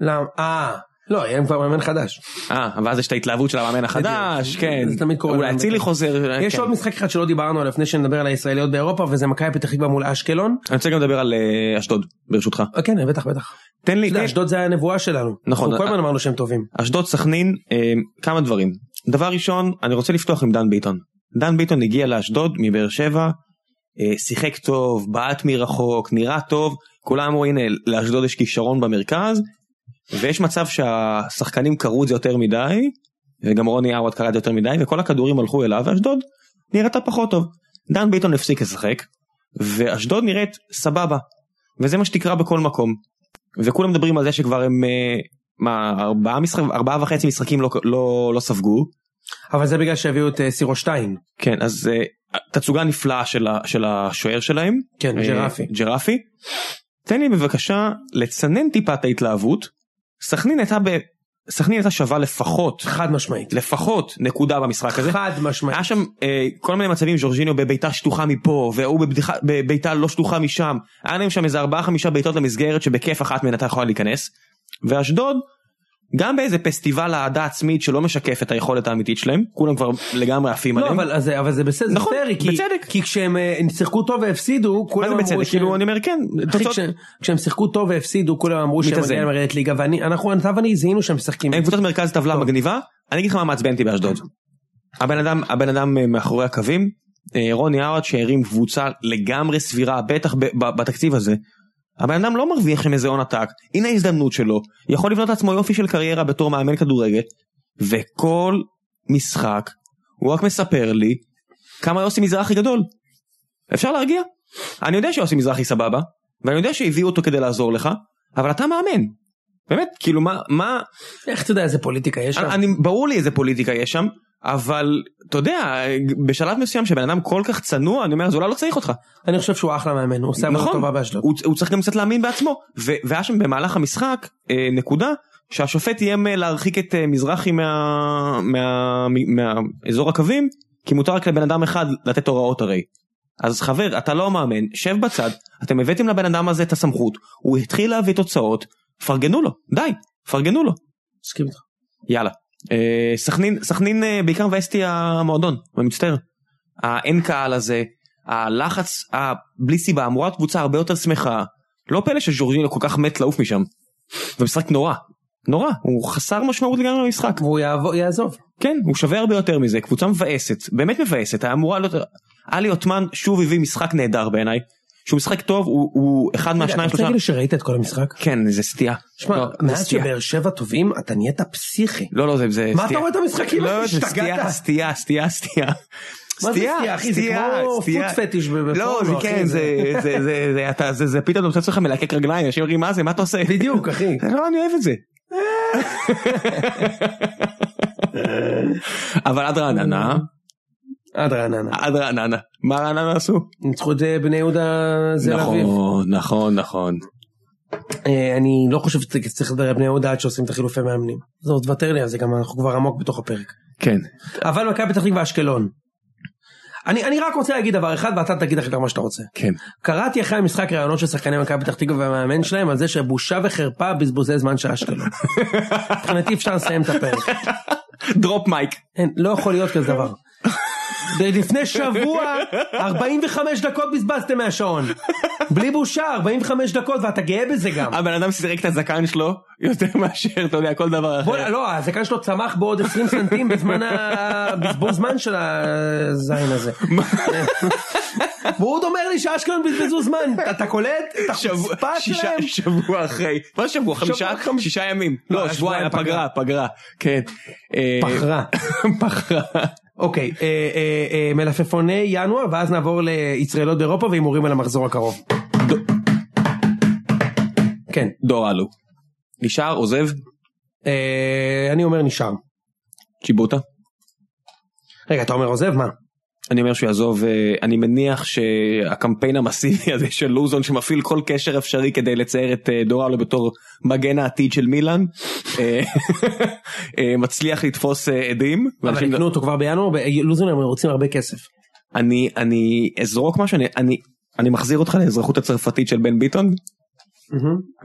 Speaker 2: למה? אה, לא, יהיה להם כבר מאמן חדש.
Speaker 1: אה ואז יש את ההתלהבות של המאמן החדש
Speaker 2: בדיוק.
Speaker 1: כן
Speaker 2: זה תמיד קורה
Speaker 1: אולי
Speaker 2: לנו.
Speaker 1: אצילי חוזר.
Speaker 2: יש
Speaker 1: כן.
Speaker 2: עוד משחק אחד שלא דיברנו עליו לפני שנדבר על הישראליות באירופה וזה מכבי פתח תקווה מול אשקלון.
Speaker 1: אני רוצה גם לדבר על אה, אשדוד ברשותך
Speaker 2: אה, כן בטח בטח.
Speaker 1: תן לי
Speaker 2: אתה יודע,
Speaker 1: תן-
Speaker 2: אשדוד זה היה הנבואה שלנו.
Speaker 1: כן. נכון.
Speaker 2: אנחנו כל הזמן אמרנו שהם טובים.
Speaker 1: אשדוד סכנין אה, כמה דברים דבר ראשון אני רוצה לפתוח עם דן ביטון דן ביטון הגיע לאשדוד מבאר שבע אה, שיחק טוב בעט מרחוק נראה טוב כולם אמרו הנה לאשדוד יש כישרון במרכז ויש מצב שהשחקנים קראו את זה יותר מדי וגם רוני עווד קרא את זה יותר מדי וכל הכדורים הלכו אליו ואשדוד נראתה פחות טוב דן ביטון הפסיק לשחק ואשדוד נראית סבבה וזה מה שתקרא בכל מקום וכולם מדברים על זה שכבר הם. אה, מה ארבעה משחק ארבעה וחצי משחקים לא לא לא ספגו
Speaker 2: אבל זה בגלל שהביאו את אה, סירו שטיין.
Speaker 1: כן אז אה, תצוגה נפלאה של ה- של השוער שלהם
Speaker 2: כן
Speaker 1: אה,
Speaker 2: ג'רפי.
Speaker 1: ג'רפי. תן לי בבקשה לצנן טיפה את ההתלהבות. סכנין הייתה ב... סכנין הייתה שווה לפחות
Speaker 2: חד משמעית.
Speaker 1: לפחות נקודה במשחק הזה.
Speaker 2: חד משמעית.
Speaker 1: היה שם אה, כל מיני מצבים ז'ורג'יניו בביתה שטוחה מפה והוא בבדיחה- בביתה לא שטוחה משם היה להם שם איזה ארבעה חמישה בעיטות למסגרת שבכיף אחת מהן אתה יכולה להיכנס ואשדוד גם באיזה פסטיבל אהדה עצמית שלא משקף את היכולת האמיתית שלהם כולם כבר לגמרי עפים
Speaker 2: לא
Speaker 1: עליהם.
Speaker 2: אבל אז זה- אבל זה בסדר. זה
Speaker 1: נכון,
Speaker 2: פיירי, כי-
Speaker 1: בצדק.
Speaker 2: כי כשהם אה, הם שיחקו טוב והפסידו
Speaker 1: מה
Speaker 2: כולם
Speaker 1: זה
Speaker 2: אמרו
Speaker 1: בצדק
Speaker 2: ש-
Speaker 1: כאילו אני אומר כן
Speaker 2: אחי,
Speaker 1: תוצאות
Speaker 2: כש- כשהם שיחקו טוב והפסידו כולם אמרו שהם
Speaker 1: מתאזן.
Speaker 2: מגיעים לרדת ליגה ואני אנחנו אתה ואני זיהינו שהם משחקים.
Speaker 1: הם קבוצת מרכז טבלה מגניבה אני אגיד לך מה מעצבן אותי באשדוד. הבן אדם הבן אדם אה, מאחורי הקווים אה, רוני אאוט שהרים קבוצה לגמרי סבירה בטח ב- ב- בתקציב הזה. הבן אדם לא מרוויח שם איזה הון עתק הנה ההזדמנות שלו יכול לבנות לעצמו יופי של קריירה בתור מאמן כדורגל וכל משחק הוא רק מספר לי כמה יוסי מזרחי גדול. אפשר להרגיע? אני יודע שיוסי מזרחי סבבה ואני יודע שהביאו אותו כדי לעזור לך אבל אתה מאמן. באמת כאילו מה מה
Speaker 2: איך אתה יודע איזה פוליטיקה יש שם?
Speaker 1: אני, ברור לי איזה פוליטיקה יש שם, אבל אתה יודע, בשלב מסוים שבן אדם כל כך צנוע, אני אומר, אז אולי לא צריך אותך.
Speaker 2: אני חושב שהוא אחלה מאמן, הוא עושה
Speaker 1: נכון.
Speaker 2: עבודה טובה באשדוד.
Speaker 1: הוא, הוא צריך גם קצת להאמין בעצמו. ו, והיה שם במהלך המשחק אה, נקודה שהשופט איים אה, להרחיק את אה, מזרחי מה, מה, מה, מהאזור הקווים, כי מותר רק לבן אדם אחד לתת הוראות הרי. אז חבר, אתה לא המאמן, שב בצד, אתם הבאתם לבן אדם הזה את הסמכות, הוא התחיל להביא תוצאות, פרגנו לו, די, פרגנו לו.
Speaker 2: מסכים איתך.
Speaker 1: יאללה. אה, סכנין, סכנין אה, בעיקר מבאס אותי המועדון, אני מצטער. האין קהל הזה, הלחץ הבלי סיבה, אמורה קבוצה הרבה יותר שמחה. לא פלא שז'ורג'ינו כל כך מת לעוף משם. זה משחק נורא, נורא, הוא חסר משמעות לגמרי במשחק.
Speaker 2: והוא יעבור- יעזוב.
Speaker 1: כן, הוא שווה הרבה יותר מזה, קבוצה מבאסת, באמת מבאסת, היה אמורה להיות... עלי עותמן שוב הביא משחק נהדר בעיניי, שהוא משחק טוב, הוא, הוא אחד
Speaker 2: אתה
Speaker 1: מהשניים
Speaker 2: רוצה
Speaker 1: שלושה...
Speaker 2: להגיד לי שראית את כל המשחק?
Speaker 1: כן, זה סטייה.
Speaker 2: שמע,
Speaker 1: לא, זה
Speaker 2: מאז
Speaker 1: סטייה.
Speaker 2: שבאר שבע טובים, אתה נהיית פסיכי.
Speaker 1: לא, לא, זה, זה
Speaker 2: מה אתה
Speaker 1: סטייה.
Speaker 2: רואה את המשחקים?
Speaker 1: לא, זה
Speaker 2: כאילו השתגעת?
Speaker 1: סטייה, סטייה, סטייה, סטייה.
Speaker 2: מה זה סטייה, אחי? זה כמו
Speaker 1: סטייה.
Speaker 2: פוט פטיש ב-
Speaker 1: לא,
Speaker 2: בפורנו,
Speaker 1: זה
Speaker 2: אחי,
Speaker 1: כן, זה,
Speaker 2: זה-
Speaker 1: זה, זה, זה, אתה, זה, זה פתאום אתה מוצא עצמך מלקק רגליים, אנשים אומרים מה זה, מה אתה עושה?
Speaker 2: בדיוק, אחי.
Speaker 1: לא, אני אוהב את זה. אבל עד רעננה,
Speaker 2: עד רעננה.
Speaker 1: עד רעננה, מה רעננה עשו?
Speaker 2: ניצחו את אה, בני יהודה זה אביב.
Speaker 1: נכון, נכון, נכון.
Speaker 2: אה, אני לא חושב שצריך לדבר על בני יהודה עד שעושים את החילופי מאמנים. זה עוד תוותר לי על זה גם אנחנו כבר עמוק בתוך הפרק.
Speaker 1: כן.
Speaker 2: אבל מכבי פתח תקווה אשקלון. אני, אני רק רוצה להגיד דבר אחד ואתה תגיד אחר כך מה שאתה רוצה.
Speaker 1: כן.
Speaker 2: קראתי אחרי המשחק ראיונות של שחקני מכבי פתח תקווה והמאמן שלהם על זה שבושה וחרפה בזבוזי זמן של אשקלון. מבחינתי אפשר לסיים את הפרק.
Speaker 1: דרופ מייק.
Speaker 2: אין, לא יכול להיות כזה דבר. לפני שבוע 45 דקות בזבזתם מהשעון. בלי בושה 45 דקות ואתה גאה בזה גם.
Speaker 1: הבן אדם סירק את הזקן שלו יותר מאשר, אתה יודע, כל דבר אחר.
Speaker 2: בוא, לא, הזקן שלו צמח בעוד 20 סנטים בזמן הבזבוז זמן של הזין הזה. והוא עוד אומר לי שאשקלון בזבזו זמן, אתה- אתה קולט? את
Speaker 1: שבוע-
Speaker 2: החוצפה
Speaker 1: שישה-
Speaker 2: שלהם?
Speaker 1: שבוע אחרי, מה זה שבוע? חמישה?
Speaker 2: חמישה.
Speaker 1: שישה ימים.
Speaker 2: לא,
Speaker 1: לא,
Speaker 2: היה
Speaker 1: שבועיים,
Speaker 2: שבועיים
Speaker 1: פגרה, פגרה. כן. אה,
Speaker 2: פחרה.
Speaker 1: פגרה.
Speaker 2: אוקיי, אה, אה, אה, מלפפוני ינואר, ואז נעבור לישראלות באירופה והימורים על המחזור הקרוב.
Speaker 1: ד-
Speaker 2: כן,
Speaker 1: דור אלו. נשאר, עוזב,
Speaker 2: אה, אני אומר נשאר.
Speaker 1: צ'יבוטה.
Speaker 2: רגע, אתה אומר עוזב? מה?
Speaker 1: אני אומר שהוא יעזוב, אה, אני מניח שהקמפיין המסיבי הזה של לוזון שמפעיל כל קשר אפשרי כדי לצייר את אה, דור אלו בתור מגן העתיד של מילאן, אה, אה, מצליח לתפוס אה, עדים.
Speaker 2: אבל
Speaker 1: ואנשים-
Speaker 2: יקנו אותו כבר בינואר, ולוזון הם רוצים הרבה כסף.
Speaker 1: אני אני אזרוק משהו אני אני אני מחזיר אותך לאזרחות הצרפתית של בן ביטון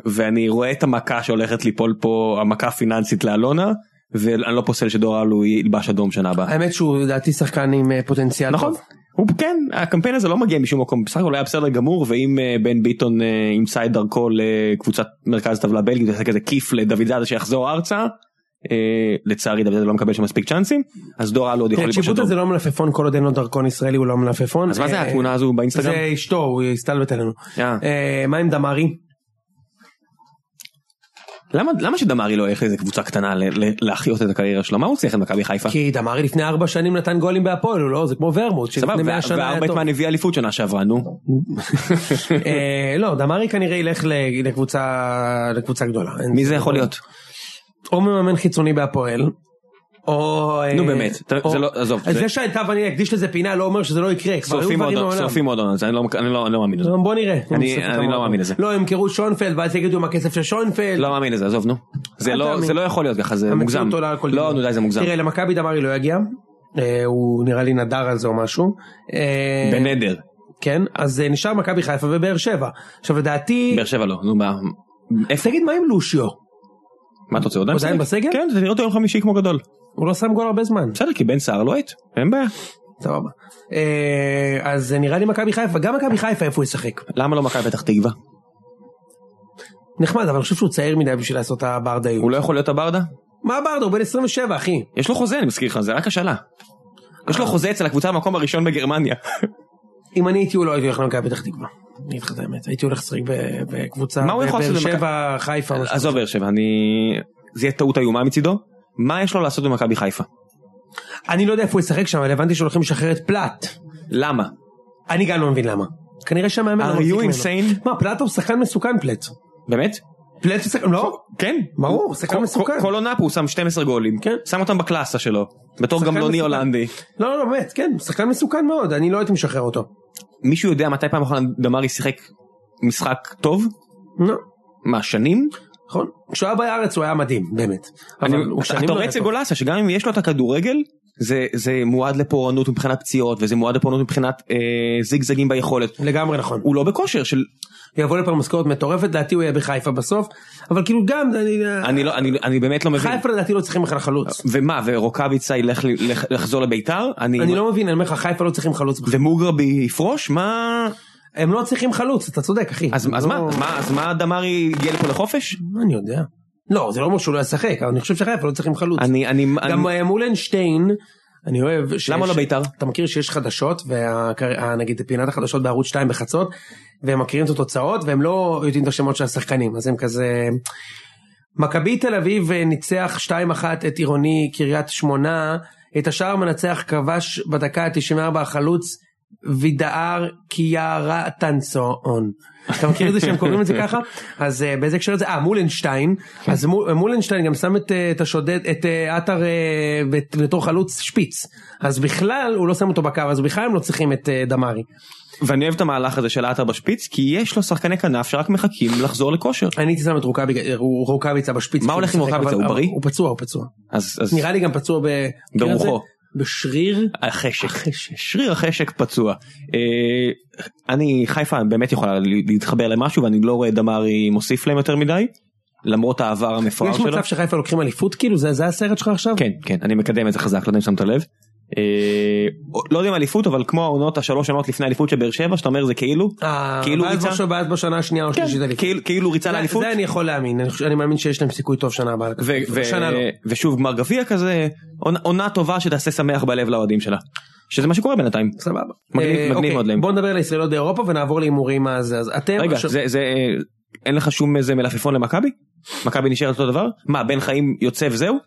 Speaker 1: ואני רואה את המכה שהולכת ליפול פה המכה הפיננסית לאלונה ואני לא פוסל שדור אלו ילבש אדום שנה הבאה.
Speaker 2: האמת שהוא לדעתי שחקן עם אה, פוטנציאל
Speaker 1: נכון.
Speaker 2: טוב.
Speaker 1: הוא כן הקמפיין הזה לא מגיע משום מקום בסך הכל היה בסדר גמור ואם אה, בן ביטון אה, ימצא את דרכו לקבוצת מרכז טבלה בלגית ויעשה כזה כיף לדוד זאדה שיחזור ארצה. אה, לצערי דוד זאדה לא מקבל שם מספיק צ'אנסים אז דור אלו עוד יכול
Speaker 2: כן,
Speaker 1: ללבוש
Speaker 2: צ'יבוטה
Speaker 1: אדום.
Speaker 2: זה לא מלפפון כל עוד אין לו דרכון ישראלי הוא לא מלפפון.
Speaker 1: אז מה זה
Speaker 2: אה,
Speaker 1: התמונה הזו באינסטגרם?
Speaker 2: זה אשתו הוא הסתלבט עלינו.
Speaker 1: אה.
Speaker 2: אה, מה עם דמרי?
Speaker 1: למה למה שדמרי לא ילך לאיזה קבוצה קטנה ל- ל- להחיות את הקריירה שלו מה הוא צריך את מכבי חיפה?
Speaker 2: כי דמרי לפני ארבע שנים נתן גולים בהפועל הוא לא זה כמו ורמוט
Speaker 1: סבבה
Speaker 2: שלפני מאה
Speaker 1: וה-
Speaker 2: שנה היה טוב.
Speaker 1: והארבעטמן הביא אליפות שנה שעברה נו
Speaker 2: אה, לא דמרי כנראה ילך ל- לקבוצה לקבוצה גדולה. אין-
Speaker 1: מי זה יכול להיות?
Speaker 2: או מממן חיצוני בהפועל. או אה,
Speaker 1: נו, באמת, אתה-
Speaker 2: או-
Speaker 1: זה לא- עזוב,
Speaker 2: אז
Speaker 1: זה-
Speaker 2: זה שהייתה ואני אקדיש לזה פינה לא אומר שזה לא יקרה כבר היו
Speaker 1: שורפים
Speaker 2: דברים
Speaker 1: מועדון,
Speaker 2: מעולם.
Speaker 1: שורפים מועדון, אז אני לא- אני לא אני לא מאמין לזה,
Speaker 2: בוא נראה.
Speaker 1: אני- אני לא מאמין לזה.
Speaker 2: לא הם ימכרו את שונפלד ואז יגידו עם הכסף של שונפלד.
Speaker 1: לא מאמין לזה עזוב נו, זה
Speaker 2: אל
Speaker 1: לא-
Speaker 2: תאמין.
Speaker 1: זה לא יכול להיות ככה זה
Speaker 2: המציאות
Speaker 1: מוגזם,
Speaker 2: עולה על כל
Speaker 1: לא
Speaker 2: דמיון.
Speaker 1: נו די זה מוגזם,
Speaker 2: תראה, למכבי דמרי לא יגיע, אה, הוא נראה לי נדר על זה או משהו. אה,
Speaker 1: בנדר,
Speaker 2: כן, אז אה, נשאר מכבי חיפה ובאר שבע. עכשיו לדעתי,
Speaker 1: באר שבע לא, נו מה, איפה,
Speaker 2: תגיד מה עם לושיו?
Speaker 1: מה אתה רוצה עוד?
Speaker 2: הוא עדיין בסגל?
Speaker 1: כן זה נראה אותו יום חמישי כמו גדול,
Speaker 2: הוא לא שם גול הרבה זמן.
Speaker 1: בסדר כי בן סער לא היית, אין בעיה,
Speaker 2: סבבה. אה, אז אה, נראה לי מכבי חיפה, גם מכבי חיפה איפה הוא ישחק.
Speaker 1: למה לא מכבי פתח תקווה?
Speaker 2: נחמד, אבל אני חושב שהוא צעיר מדי בשביל לעשות את הברדאיות.
Speaker 1: הוא לא יכול להיות הברדה?
Speaker 2: מה ברדה? הוא בן 27 אחי.
Speaker 1: יש לו חוזה אני מזכיר לך זה רק השאלה, יש
Speaker 2: אה.
Speaker 1: לו חוזה אצל הקבוצה במקום הראשון בגרמניה,
Speaker 2: אם אני הייתי הוא לא הייתי הולך למכבי פתח תקווה. אני אגיד לך את האמת, הייתי הולך לשחק ב- בקבוצה,
Speaker 1: מה הוא יכול
Speaker 2: בבאר
Speaker 1: לעשות אה,
Speaker 2: שבע, חיפה. משהו.
Speaker 1: עזוב באר שבע, אני... זה יהיה טעות איומה מצידו. מה יש לו לעשות במכבי חיפה?
Speaker 2: אני לא יודע איפה הוא ישחק שם, אבל הבנתי שהולכים לשחרר את פלט.
Speaker 1: למה?
Speaker 2: אני גם לא מבין למה. כנראה שהמאמן
Speaker 1: Are
Speaker 2: לא מחזיק
Speaker 1: you
Speaker 2: ממנו.
Speaker 1: insane?
Speaker 2: מה, פלטו הוא שחקן מסוכן פלט.
Speaker 1: באמת?
Speaker 2: פלט מסוכן, לא?
Speaker 1: כן,
Speaker 2: ברור,
Speaker 1: הוא-
Speaker 2: שחקן
Speaker 1: כל-
Speaker 2: מסוכן.
Speaker 1: כל- כל עונה פה הוא שם 12 גולים,
Speaker 2: כן.
Speaker 1: שם אותם בקלאסה שלו, בתור
Speaker 2: שחקן
Speaker 1: גמלוני
Speaker 2: מסוכן.
Speaker 1: הולנדי.
Speaker 2: לא, לא, באמת, כן, שחקן מסוכן מאוד, אני לא הייתי משחרר אותו.
Speaker 1: מישהו יודע מתי פעם אחרונה דמרי שיחק משחק טוב?
Speaker 2: לא,
Speaker 1: מה, שנים?
Speaker 2: נכון. כשהוא היה בארץ הוא היה מדהים, באמת. אבל הוא
Speaker 1: אתה
Speaker 2: שנים
Speaker 1: אתה
Speaker 2: לא
Speaker 1: רואה
Speaker 2: היה
Speaker 1: אצל
Speaker 2: טוב.
Speaker 1: גולסה שגם אם יש לו את הכדורגל זה זה מועד לפורענות מבחינת פציעות וזה מועד לפורענות מבחינת אה, זיגזגים ביכולת
Speaker 2: לגמרי נכון.
Speaker 1: הוא לא בכושר של
Speaker 2: יבוא לפה משכורת מטורפת, לדעתי הוא יהיה בחיפה בסוף, אבל כאילו גם, אני...
Speaker 1: אני לא אני אני באמת לא מבין
Speaker 2: חיפה לדעתי לא צריכים בכלל חלוץ.
Speaker 1: ומה ורוקאביצה ילך ל- לח- לחזור לביתר אני,
Speaker 2: אני לא מבין, אני אומר לך, חיפה לא צריכים חלוץ. בכלל.
Speaker 1: ומוגרבי יפרוש מה
Speaker 2: הם לא צריכים חלוץ, אתה צודק, אחי.
Speaker 1: אז, אז
Speaker 2: לא-
Speaker 1: מה אז מה אז מה דמרי הגיע לפה לחופש
Speaker 2: מה אני יודע? לא, זה לא אומר שהוא לא ישחק, אבל אני חושב שחיפה לא צריכים חלוץ.
Speaker 1: אני אני,
Speaker 2: גם
Speaker 1: אני
Speaker 2: אה, מולנשטיין, אני אוהב... שיש-
Speaker 1: למה לא ביתר?
Speaker 2: אתה מכיר שיש חדשות, ונגיד פינת החדשות בערוץ 2 בחצות, והם מכירים את התוצאות, והם לא יודעים את השמות של השחקנים, אז הם כזה... מכבי תל אביב אה, ניצח 2-1 את עירוני קריית שמונה, את השער המנצח כבש בדקה ה-94 החלוץ וידאר קיארה טנסון. אתה מכיר את זה שהם קוראים את זה ככה? אז אה, באיזה הקשר זה? אה, מולנשטיין.
Speaker 1: כן.
Speaker 2: אז מול- מולנשטיין גם שם את, אה, את השודד, את אה, עטר אה, בת- בתור חלוץ שפיץ. אז בכלל הוא לא שם אותו בקו, אז בכלל הם לא צריכים את אה, דמארי.
Speaker 1: ואני אוהב את המהלך הזה של עטר בשפיץ כי יש לו שחקני כנף שרק מחכים לחזור לכושר
Speaker 2: אני הייתי שם את רוקאבי- אה, רוקאביצה בשפיץ.
Speaker 1: מה הולך עם
Speaker 2: משחק,
Speaker 1: רוקאביצה?
Speaker 2: אבל-
Speaker 1: הוא בריא?
Speaker 2: הוא פצוע, הוא פצוע.
Speaker 1: אז אז
Speaker 2: נראה לי גם פצוע ב...
Speaker 1: ברוחו.
Speaker 2: בשריר.
Speaker 1: החשק,
Speaker 2: החשק.
Speaker 1: שריר החשק פצוע. אה, אני חיפה באמת יכולה להתחבר למשהו ואני לא רואה דמרי מוסיף להם יותר מדי למרות העבר המפואר
Speaker 2: יש
Speaker 1: שלו.
Speaker 2: מצב שחיפה לוקחים אליפות כאילו? זה זה הסרט שלך עכשיו?
Speaker 1: כן כן אני מקדם את זה חזק לא יודע אם שמת לב. אה, לא יודע אם אליפות אבל כמו העונות השלוש עונות לפני האליפות של באר שבע שאתה אומר זה כאילו
Speaker 2: אה,
Speaker 1: כאילו
Speaker 2: ואז
Speaker 1: ריצה?
Speaker 2: בש- ואז בשנה השנייה או
Speaker 1: כן,
Speaker 2: השלישית אליפות.
Speaker 1: כאילו- כאילו ריצה
Speaker 2: זה-
Speaker 1: לאליפות.
Speaker 2: זה אני יכול להאמין, אני חושב- אני מאמין שיש להם סיכוי טוב שנה הבאה.
Speaker 1: ו-
Speaker 2: לקחת.
Speaker 1: ו-
Speaker 2: שנה לא.
Speaker 1: ושוב גמר גביע כזה עונה- עונה טובה שתעשה שמח בלב לאוהדים שלה. שזה מה שקורה בינתיים.
Speaker 2: סבבה.
Speaker 1: מגניב-
Speaker 2: אה,
Speaker 1: מגניב
Speaker 2: אוקיי,
Speaker 1: מאוד להם.
Speaker 2: בוא נדבר על הישראליות באירופה ונעבור להימורים אז אז אתם.
Speaker 1: רגע
Speaker 2: כן, עכשיו-
Speaker 1: זה זה אה, אין לך שום איזה מלפפון למכבי? מכבי נשארת אותו דבר? מה בן חיים יוצא וזהו?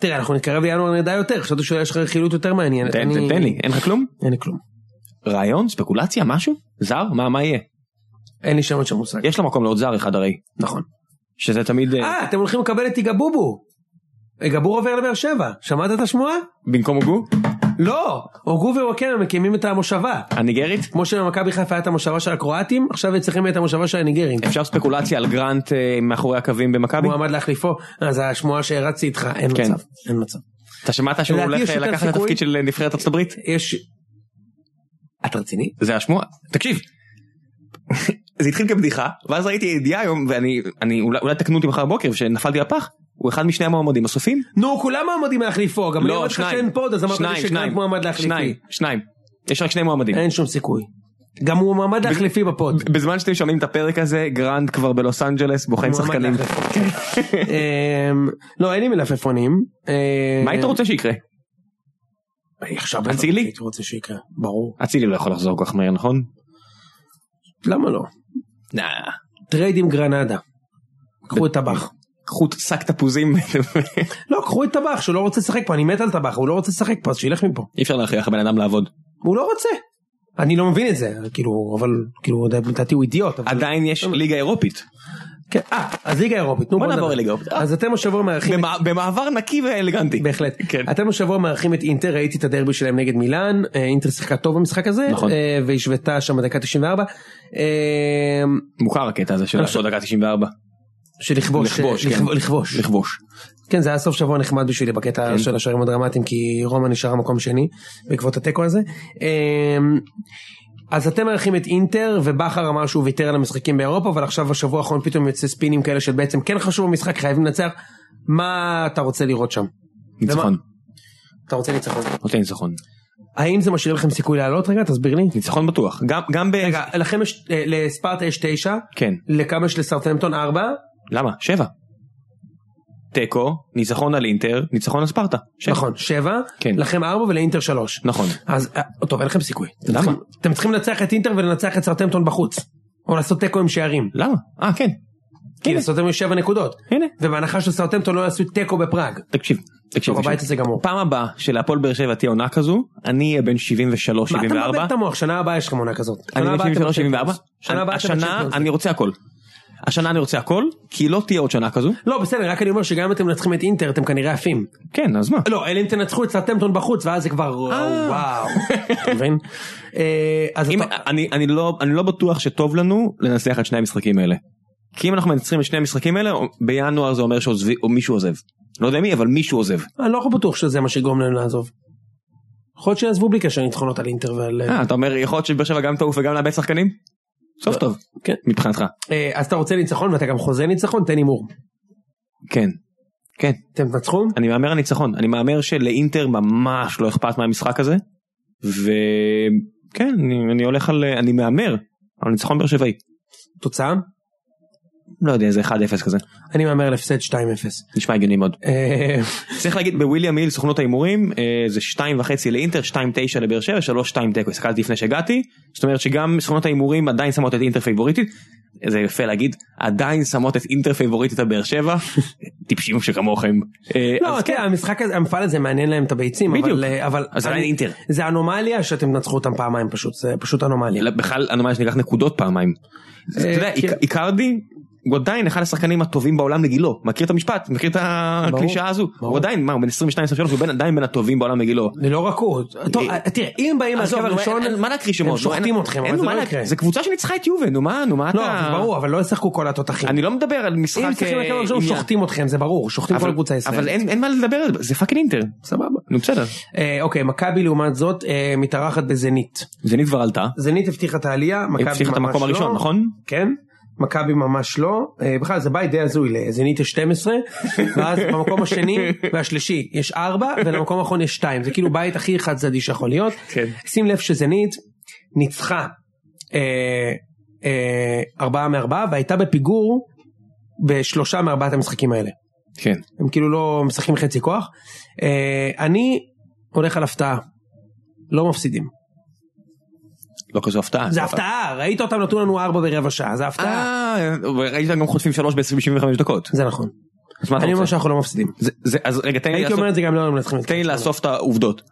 Speaker 2: תראה אנחנו נתקרב לינואר נדע יותר, חשבתי שיש לך רכילות יותר מעניינת.
Speaker 1: תן
Speaker 2: כן, אני-
Speaker 1: תן- תן לי אין לך כלום?
Speaker 2: אין לי כלום.
Speaker 1: רעיון? ספקולציה? משהו? זר? מה מה יהיה?
Speaker 2: אין לי שמץ של מושג.
Speaker 1: יש לה מקום לעוד זר אחד הרי
Speaker 2: נכון.
Speaker 1: שזה תמיד אה,
Speaker 2: אה אתם הולכים לקבל את יגאל בובו. גבור עובר לבאר שבע, שמעת את השמועה?
Speaker 1: במקום הוגו?
Speaker 2: לא, הוגו ווואקמה מקימים את המושבה.
Speaker 1: הניגרית?
Speaker 2: כמו שלמכבי חיפה היה את המושבה של הקרואטים, עכשיו אצלכם יהיה את המושבה של הניגרים.
Speaker 1: אפשר ספקולציה על גרנט אה, מאחורי הקווים במכבי?
Speaker 2: מועמד להחליפו, אז השמועה שהרצתי איתך, אין
Speaker 1: כן.
Speaker 2: מצב, אין מצב.
Speaker 1: אתה שמעת שהוא
Speaker 2: לדעתי
Speaker 1: הולך
Speaker 2: יש
Speaker 1: אה,
Speaker 2: יותר
Speaker 1: לקחת את
Speaker 2: סיכוי.
Speaker 1: התפקיד של אה, נבחרת ארצות הברית?
Speaker 2: יש... את רציני?
Speaker 1: זה השמועה. תקשיב. זה התחיל כבדיחה ואז ראיתי ידיעה היום ואני אני אולי אולי תקנו אותי מחר בבוקר שנפלתי לפח הוא אחד משני המועמדים הסופים
Speaker 2: נו, כולם מועמדים להחליפו, גם אני אמרתי לך שאין פוד, אז אמרת לי
Speaker 1: לא, שניים,
Speaker 2: שגרנט
Speaker 1: שניים,
Speaker 2: מועמד להחליפי.
Speaker 1: שניים, שניים. יש רק שני מועמדים.
Speaker 2: אין שום סיכוי. גם הוא מועמד להחליפי בפוד.
Speaker 1: בזמן שאתם שומעים את הפרק הזה, גרנד כבר בלוס אנג'לס, בוכה עם
Speaker 2: מועמד
Speaker 1: שחקנים.
Speaker 2: להחליפו. אמ, לא, אין לי מלפפונים. אמ,
Speaker 1: מה היית רוצה שיקרה?
Speaker 2: אני עכשיו בטח
Speaker 1: אצילי?
Speaker 2: הייתי רוצה שיקרה, ברור.
Speaker 1: אצילי לא יכול לחזור כל כך מהר, נכון?
Speaker 2: למה לא? טרייד עם גרנדה. קחו את טבח.
Speaker 1: קחו שק תפוזים,
Speaker 2: לא, קחו את טבח, שהוא לא רוצה לשחק פה, אני מת על טבח, הוא לא רוצה לשחק פה, אז שילך מפה.
Speaker 1: אי אפשר להכריח בן אדם לעבוד.
Speaker 2: הוא לא רוצה. אני לא מבין את זה, כאילו, אבל, כאילו, לדעתי הוא אידיוט. אבל-
Speaker 1: עדיין יש ליגה אירופית.
Speaker 2: כן, אה, אז ליגה אירופית, נו
Speaker 1: בוא נעבור
Speaker 2: נדבר.
Speaker 1: לליגה אירופית.
Speaker 2: אז אתם השבוע מארחים...
Speaker 1: במע- במעבר נקי ואלגנטי.
Speaker 2: בהחלט.
Speaker 1: כן.
Speaker 2: אתם השבוע מארחים את אינטר, ראיתי את הדרבי שלהם נגד מילאן, אה, אינטר שיחקה טוב במשחק הזה,
Speaker 1: נכון.
Speaker 2: אה, והשוותה שם בדקה 94, אה,
Speaker 1: מוכר הקטע הזה של
Speaker 2: אני
Speaker 1: לעשות דקה 94.
Speaker 2: שלכבוש,
Speaker 1: לכבוש,
Speaker 2: אה,
Speaker 1: כן.
Speaker 2: לכב- לכבוש.
Speaker 1: לכבוש.
Speaker 2: כן, זה היה סוף שבוע נחמד בשבילי
Speaker 1: כן.
Speaker 2: בקטע של השערים הדרמטיים, כי רומא נשארה מקום שני בעקבות התיקו הזה. אמ, אז אתם מארחים את אינטר, ובכר אמר שהוא ויתר על המשחקים באירופה, אבל עכשיו בשבוע האחרון פתאום יוצא ספינים כאלה של בעצם כן חשוב המשחק, חייבים לנצח. מה אתה רוצה לראות שם?
Speaker 1: ניצחון.
Speaker 2: אתה רוצה ניצחון.
Speaker 1: נותן ניצחון.
Speaker 2: האם זה משאיר לכם סיכוי לעלות רגע? תסביר לי.
Speaker 1: ניצחון בטוח. גם- גם ב...
Speaker 2: רגע, לכם יש, אה, לספרטה יש תשע,
Speaker 1: כן.
Speaker 2: לכמה יש לסרטמפטון ארבע,
Speaker 1: למה? שבע. תיקו, ניצחון על אינטר, ניצחון על ספרטה. שבע.
Speaker 2: נכון, שבע,
Speaker 1: כן.
Speaker 2: לכם ארבע ולאינטר שלוש.
Speaker 1: נכון.
Speaker 2: אז אה, טוב אין לכם סיכוי. אתם
Speaker 1: למה?
Speaker 2: צריכים- אתם צריכים לנצח את אינטר ולנצח את סרטמפטון בחוץ. או לעשות תיקו עם שערים.
Speaker 1: למה? אה כן.
Speaker 2: כי
Speaker 1: הנה.
Speaker 2: לסרטמפטון יש 7 נקודות.
Speaker 1: הנה.
Speaker 2: ובהנחה של סרטמפטון לא יעשו תיקו בפראג.
Speaker 1: תקשיב. תקשיב.
Speaker 2: טוב
Speaker 1: תקשיב.
Speaker 2: הבית הזה גמור.
Speaker 1: פעם הבאה שלהפועל באר שבע תהיה עונה כזו, אני אהיה בן 73,
Speaker 2: מה אתה
Speaker 1: 74.
Speaker 2: מבלבל את המוח? שנה הבאה יש לכם עונה כזאת.
Speaker 1: אני
Speaker 2: שנה
Speaker 1: בן
Speaker 2: הבאה אתם
Speaker 1: 73,
Speaker 2: בצ'מפיונס.
Speaker 1: 74.
Speaker 2: שנה הבאה אתם
Speaker 1: השנה
Speaker 2: בצ'מפיונס.
Speaker 1: אני רוצה הכל. השנה אני רוצה הכל, כי לא תהיה עוד שנה כזו.
Speaker 2: לא, בסדר, רק אני אומר שגם אם אתם מנצחים את אינטר, אתם כנראה עפים.
Speaker 1: כן, אז מה?
Speaker 2: לא, אלא אם תנצחו את סרטמפטון בחוץ, ואז זה כבר
Speaker 1: אה.
Speaker 2: וואו. אתה מבין? אה, אז
Speaker 1: אם,
Speaker 2: אתה-
Speaker 1: אני, אני, לא, אני לא בטוח שטוב לנו לנצח את שני המשחקים האלה. כי אם אנחנו מנצחים את שני המשחקים האלה, בינואר זה אומר שעוזבי, או מישהו עוזב. לא יודע מי, אבל מישהו עוזב.
Speaker 2: אני לא בטוח שזה מה שיגרום להם לעזוב. יכול להיות שיעזבו בלי קשר ניצחונות על אינטר ועל...
Speaker 1: אה, אתה אומר, יכול להיות שבאר שבע גם תעוף וגם לאבד שחקנים? סוף טוב.
Speaker 2: כן.
Speaker 1: מבחינתך.
Speaker 2: אה, אז אתה רוצה ניצחון ואתה גם חוזה ניצחון? תן הימור.
Speaker 1: כן. כן.
Speaker 2: אתם תנצחו?
Speaker 1: אני מהמר על ניצחון. אני מהמר שלאינטר ממש לא אכפת מהמשחק הזה. וכן, אני, אני הולך על, אני מהמר על ניצחון באר שבעי.
Speaker 2: תוצאה?
Speaker 1: לא יודע, איזה 1-0 כזה.
Speaker 2: אני מהמר על הפסד 2-0.
Speaker 1: נשמע הגיוני מאוד.
Speaker 2: אה,
Speaker 1: צריך להגיד בוויליאם היל סוכנות ההימורים אה, זה שתיים וחצי לאינטר שתיים תשע לבאר שבע שלוש שתיים תיקו הסתכלתי לפני שהגעתי זאת אומרת שגם סוכנות ההימורים עדיין שמות את אינטר פייבוריטית. זה יפה להגיד עדיין שמות את אינטר פייבוריטית על באר שבע טיפשים שכמוכם. אה,
Speaker 2: לא,
Speaker 1: אז
Speaker 2: אתה יודע, המשחק הזה, המפעל הזה מעניין להם את הביצים,
Speaker 1: בדיוק.
Speaker 2: אבל... אה, אבל-
Speaker 1: אז עדיין
Speaker 2: אני-
Speaker 1: אינטר.
Speaker 2: זה אנומליה שאתם תנצחו אותם פעמיים פשוט, זה פשוט אנומליה.
Speaker 1: אלא לא- בכלל אנומליה שניקח נקודות פעמיים. אז אתה יודע
Speaker 2: אה, כן.
Speaker 1: איק- איקרדי הוא עדיין אחד השחקנים הטובים בעולם לגילו מכיר את המשפט מכיר את הקלישאה הזו הוא
Speaker 2: ברור.
Speaker 1: עדיין מה הוא בן 22 23 הוא בין- עדיין בין הטובים בעולם לגילו.
Speaker 2: זה לא רק הוא, טוב,
Speaker 1: אה,
Speaker 2: תראה, אם באים
Speaker 1: עזוב,
Speaker 2: מהרכב
Speaker 1: נו,
Speaker 2: הראשון,
Speaker 1: אין- אין כאילו מה להקריא
Speaker 2: הם
Speaker 1: שמות, נו,
Speaker 2: שוחטים
Speaker 1: אין-
Speaker 2: אתכם,
Speaker 1: אין
Speaker 2: אבל זה
Speaker 1: לו
Speaker 2: לא
Speaker 1: מה
Speaker 2: יקרה.
Speaker 1: להקריא. זה קבוצה שניצחה את יובל, נו מה, נו מה
Speaker 2: לא,
Speaker 1: אתה...
Speaker 2: אבל ברור, אבל לא ישחקו כל התותחים.
Speaker 1: אני לא מדבר על משחק...
Speaker 2: אם משחקים
Speaker 1: אה,
Speaker 2: הרכב הראשון,
Speaker 1: עניין.
Speaker 2: שוחטים אתכם, זה ברור, שוחטים
Speaker 1: אבל-
Speaker 2: כל קבוצה
Speaker 1: אבל
Speaker 2: ישראלית.
Speaker 1: אין אין מה לדבר על זה, זה פאקינג אינטר. סבבה. נו בסדר.
Speaker 2: אה, אוקיי, מכבי לעומת זאת אה, מתארחת בזנית.
Speaker 1: זנית כבר עלתה.
Speaker 2: זנית הבטיחה את העלייה, מכבי ממש לא.
Speaker 1: הבטיחה את המקום הראשון, נכון?
Speaker 2: כן. מכבי ממש לא, אה, בכלל זה בית די הזוי, לזנית יש 12, ואז במקום השני והשלישי יש 4, ולמקום האחרון יש 2, זה כאילו בית הכי חד צדדי שיכול להיות.
Speaker 1: כן.
Speaker 2: שים לב שזנית ניצחה אה, אה, 4 מארבעה והייתה בפיגור בשלושה מארבעת המשחקים האלה.
Speaker 1: כן.
Speaker 2: הם כאילו לא משחקים חצי כוח. אה, אני הולך על הפתעה, לא מפסידים.
Speaker 1: לא כזו הפתעה.
Speaker 2: זה הפתעה, ראית אותם נתנו לנו 4 ברבע שעה, זה הפתעה.
Speaker 1: אה, ראית גם חוטפים 3 ב-25 דקות.
Speaker 2: זה נכון.
Speaker 1: אז מה אתה
Speaker 2: אני אומר
Speaker 1: רוצה?
Speaker 2: שאנחנו לא מפסידים.
Speaker 1: זה- זה- אז רגע, תן לי
Speaker 2: הייתי
Speaker 1: לעשות-
Speaker 2: אומר את זה גם לא מנצחים את
Speaker 1: תן לי לאסוף את העובדות.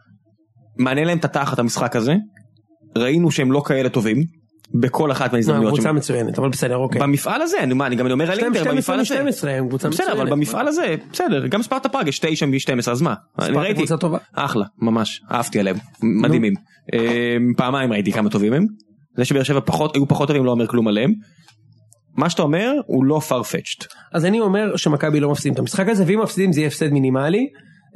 Speaker 1: מעניין להם את התחת המשחק הזה. ראינו שהם לא כאלה טובים. בכל אחת
Speaker 2: לא,
Speaker 1: מההזדמנויות.
Speaker 2: קבוצה
Speaker 1: שהם-
Speaker 2: מצוינת, אבל בסדר, אוקיי.
Speaker 1: במפעל הזה, אני- מה, אני גם אומר על
Speaker 2: יש להם
Speaker 1: אינטר,
Speaker 2: 12
Speaker 1: במפעל הזה.
Speaker 2: מ-12, הם קבוצה מצוינת.
Speaker 1: בסדר, אבל במפעל הזה, בסדר, גם ספרטה פראג יש 9 מ-12, אז מה? אני
Speaker 2: ספרטה
Speaker 1: ראיתי,
Speaker 2: קבוצה טובה.
Speaker 1: אחלה, ממש, אהבתי עליהם, מדהימים. אמ, פעמיים ראיתי כמה טובים הם. זה שבאר שבע פחות, היו פחות טובים לא אומר כלום עליהם. מה שאתה אומר הוא לא farfetched.
Speaker 2: אז אני אומר שמכבי לא מפסידים את המשחק הזה, ואם מפסידים זה יהיה הפסד מינימלי.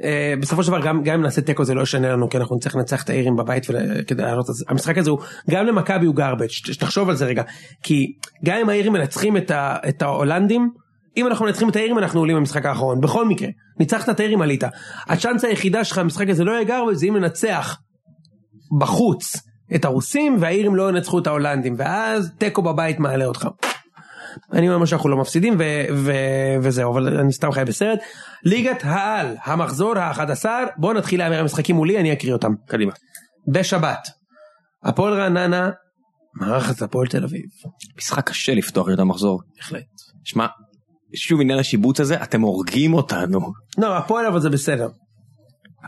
Speaker 2: אה, בסופו של דבר גם גם אם נעשה תיקו זה לא ישנה לנו כי אנחנו נצטרך לנצח את האירים בבית ול- כדי לעלות אז המשחק הזה הוא גם למכבי הוא garbage ת- תחשוב על זה רגע כי גם אם האירים מנצחים את ה- את ההולנדים אם אנחנו מנצחים את האירים אנחנו עולים במשחק האחרון בכל מקרה ניצחת את האירים עלית הצ'אנס היחידה שלך במשחק הזה לא יהיה garbage זה אם ננצח בחוץ את הרוסים והאירים לא ינצחו את ההולנדים ואז תיקו בבית מעלה אותך. אני אומר שאנחנו לא מפסידים ו- ו- וזהו אבל אני סתם חי בסרט. ליגת העל המחזור ה-11 בואו נתחיל להמר המשחקים מולי אני אקריא אותם.
Speaker 1: קדימה.
Speaker 2: בשבת. הפועל רעננה מארחת את הפועל תל אביב.
Speaker 1: משחק קשה לפתוח את המחזור.
Speaker 2: בהחלט.
Speaker 1: שמע, שוב עניין השיבוץ הזה, אתם הורגים אותנו.
Speaker 2: לא הפועל אבל זה בסדר.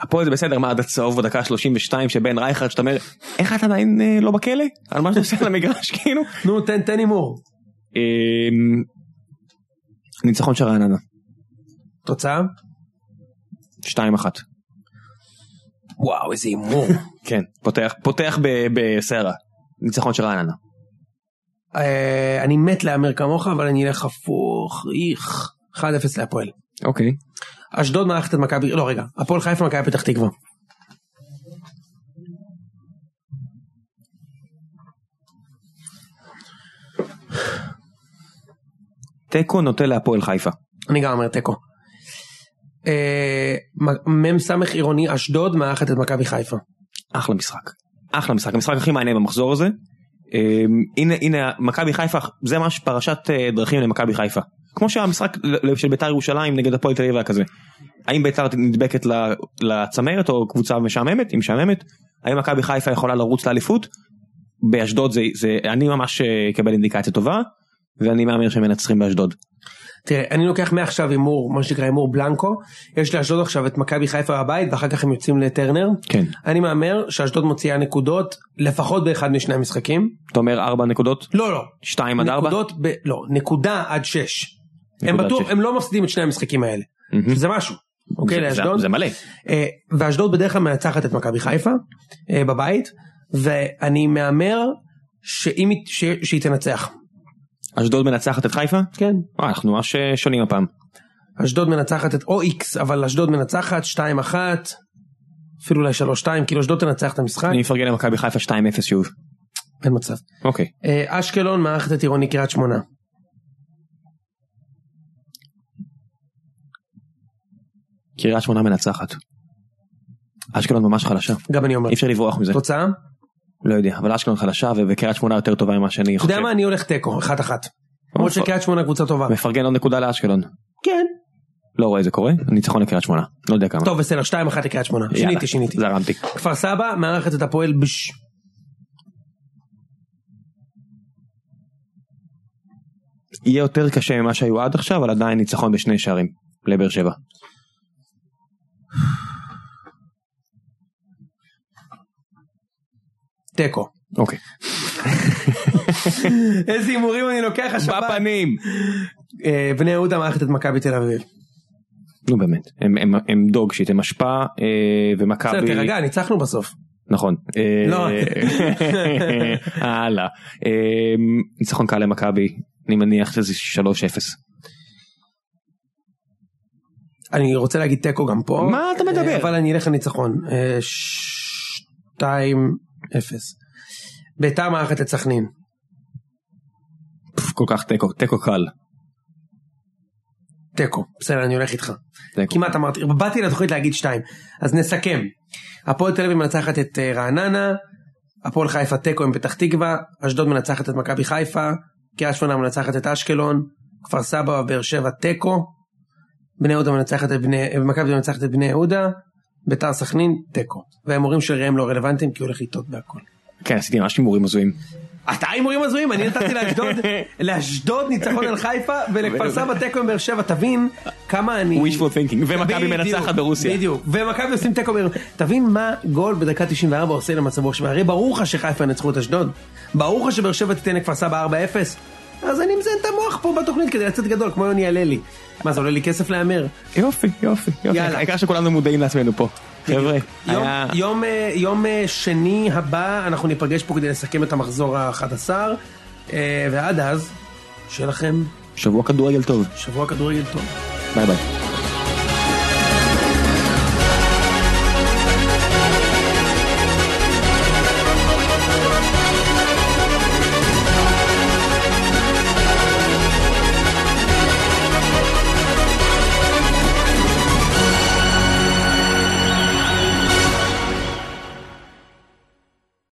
Speaker 1: הפועל זה בסדר, מה עד הצהוב בדקה 32 שבן רייכרד שאתה אומר, איך אתה עדיין אה, לא בכלא? על מה שאתה עושה על המגרש כאילו?
Speaker 2: נו תן תן הימור.
Speaker 1: אמ, ניצחון של רעננה,
Speaker 2: תוצאה?
Speaker 1: 2-1.
Speaker 2: וואו איזה הימור.
Speaker 1: כן, פותח, פותח ב- בסערה. ניצחון של רעננה.
Speaker 2: אה, אני מת להמר כמוך אבל אני אלך הפוך. איך. 1-0 להפועל.
Speaker 1: אוקיי.
Speaker 2: אשדוד מארחת את מכבי, לא רגע, הפועל חיפה מכבי פתח תקווה.
Speaker 1: תיקו נוטה להפועל חיפה.
Speaker 2: אני גם אומר תיקו. אה, מ- מ"ס עירוני אשדוד מארחת את מכבי חיפה.
Speaker 1: אחלה משחק. אחלה משחק, המשחק הכי מעניין במחזור הזה. אמ, הנה, הנה, מכבי חיפה, זה ממש פרשת אה, דרכים למכבי חיפה. כמו שהמשחק ל- של ביתר ירושלים נגד הפועל תל אביב היה כזה. האם ביתר נדבקת ל- לצמרת או קבוצה משעממת? היא משעממת. האם מכבי חיפה יכולה לרוץ לאליפות? באשדוד זה, זה, אני ממש אה, אקבל אינדיקציה טובה, ואני מהמר שהם מנצחים באשדוד.
Speaker 2: תראה, אני לוקח מעכשיו הימור, מה שנקרא הימור בלנקו, יש לאשדוד עכשיו את מכבי חיפה בבית, ואחר כך הם יוצאים לטרנר.
Speaker 1: כן.
Speaker 2: אני מהמר שאשדוד מוציאה נקודות לפחות באחד משני המשחקים.
Speaker 1: אתה אומר 4 נקודות?
Speaker 2: לא, לא.
Speaker 1: 2 עד 4?
Speaker 2: נקודות, ב... לא, נקודה עד שש. הם
Speaker 1: נקודה עד
Speaker 2: בטוח,
Speaker 1: שש.
Speaker 2: הם לא מפסידים את שני המשחקים האלה.
Speaker 1: מהמם.
Speaker 2: זה משהו. אוקיי, לאשדוד.
Speaker 1: זה מלא.
Speaker 2: אה, ואשדוד בדרך כלל מנצחת את מכבי חיפה אה, בבית, ואני מהמר שאם היא- ש... שהיא תנצח.
Speaker 1: אשדוד מנצחת את חיפה?
Speaker 2: כן.
Speaker 1: אה, אנחנו ממש אה, שונים הפעם.
Speaker 2: אשדוד מנצחת את או איקס, אבל אשדוד מנצחת 2-1, אפילו אולי 3-2, כאילו אשדוד תנצח את המשחק,
Speaker 1: אני מפרגן למכבי חיפה 2-0 שוב.
Speaker 2: אין מצב.
Speaker 1: אוקיי.
Speaker 2: אה, אשקלון מארחת את עירוני קריית שמונה.
Speaker 1: קריית שמונה מנצחת. אשקלון ממש חלשה.
Speaker 2: גם אני אומר.
Speaker 1: אי אפשר לברוח מזה.
Speaker 2: תוצאה? אתה
Speaker 1: לא יודע, אבל אשקלון חלשה ובקריית שמונה יותר טובה ממה שאני חושב.
Speaker 2: יודע מה? אני הולך תיקו, אחת אחת. למרות
Speaker 1: מפר-
Speaker 2: שקריית שמונה קבוצה טובה.
Speaker 1: מפרגן עוד נקודה לאשקלון.
Speaker 2: כן.
Speaker 1: לא רואה את זה קורה, ניצחון לקריית שמונה. לא יודע כמה.
Speaker 2: טוב בסדר, 2-1 לקריית שמונה.
Speaker 1: יאללה,
Speaker 2: שיניתי, שיניתי.
Speaker 1: זרמתי.
Speaker 2: כפר סבא מארחת את הפועל בש...
Speaker 1: יהיה יותר קשה ממה שהיו עד עכשיו, אבל עדיין ניצחון בשני שערים. לבאר שבע.
Speaker 2: תיקו.
Speaker 1: אוקיי.
Speaker 2: איזה הימורים אני לוקח השבת.
Speaker 1: בפנים!
Speaker 2: אה, בני יהודה מארחת את מכבי תל אביב.
Speaker 1: נו באמת, הם- הם- הם דוג שיט, הם אשפה אה,
Speaker 2: בסדר,
Speaker 1: ומכבי...
Speaker 2: תירגע, ניצחנו בסוף.
Speaker 1: נכון. אה,
Speaker 2: לא.
Speaker 1: הלאה. אה, ניצחון קל למכבי, אני מניח שזה 3-0.
Speaker 2: אני רוצה להגיד תיקו גם פה.
Speaker 1: מה אתה מדבר?
Speaker 2: אה, אבל אני אלך לניצחון. אה, ש- 2-0. ביתר מארחת את סכנין.
Speaker 1: פפ, כל כך תיקו, תיקו קל.
Speaker 2: תיקו. בסדר, אני הולך איתך.
Speaker 1: תיקו.
Speaker 2: כמעט אמרתי, באתי לתוכנית להגיד שתיים. אז נסכם. הפועל תל אביב מנצחת את אה, רעננה, הפועל חיפה תיקו עם פתח תקווה, אשדוד מנצחת את מכבי חיפה, קריית שמונה מנצחת את אשקלון, כפר סבא ובאר שבע תיקו, בני יהודה מנצחת את בני, אה, מכבי תל אביב מנצחת את בני יהודה, ביתר סכנין תיקו. וההימורים של ראם לא רלוונטיים כי הוא הולך לטעות בהכל.
Speaker 1: כן, עשיתי ממש הימורים הזויים.
Speaker 2: אתה הימורים הזויים, אני נתתי לאשדוד, לאשדוד ניצחון על חיפה ולכפר סבא תיקו עם באר שבע, תבין כמה אני...
Speaker 1: wishful thinking, ומכבי
Speaker 2: בדיוק,
Speaker 1: מנצחת ברוסיה.
Speaker 2: בדיוק, ומכבי עושים תיקו ברוסיה. תבין מה גול בדקה 94 עושה למצב רוח שלה. הרי ברור לך שחיפה ינצחו את אשדוד. ברור לך שבאר שבע תיתן לכפר סבא 4-0. אז אני מזיין את המוח פה בתוכנית כדי לצאת גדול, כמו יוני הללי. מה, זה עולה לי כסף להמר?
Speaker 1: יופי, יופי, יופי.
Speaker 2: יאללה.
Speaker 1: העיקר שכולנו מודעים לעצמנו פה. חבר'ה,
Speaker 2: יום-
Speaker 1: היה-
Speaker 2: יום, אה, יום אה, שני הבא אנחנו ניפגש פה כדי לסכם את המחזור ה-11, ועד אז, שיהיה לכם
Speaker 1: שבוע כדורגל טוב.
Speaker 2: שבוע כדורגל טוב.
Speaker 1: ביי ביי.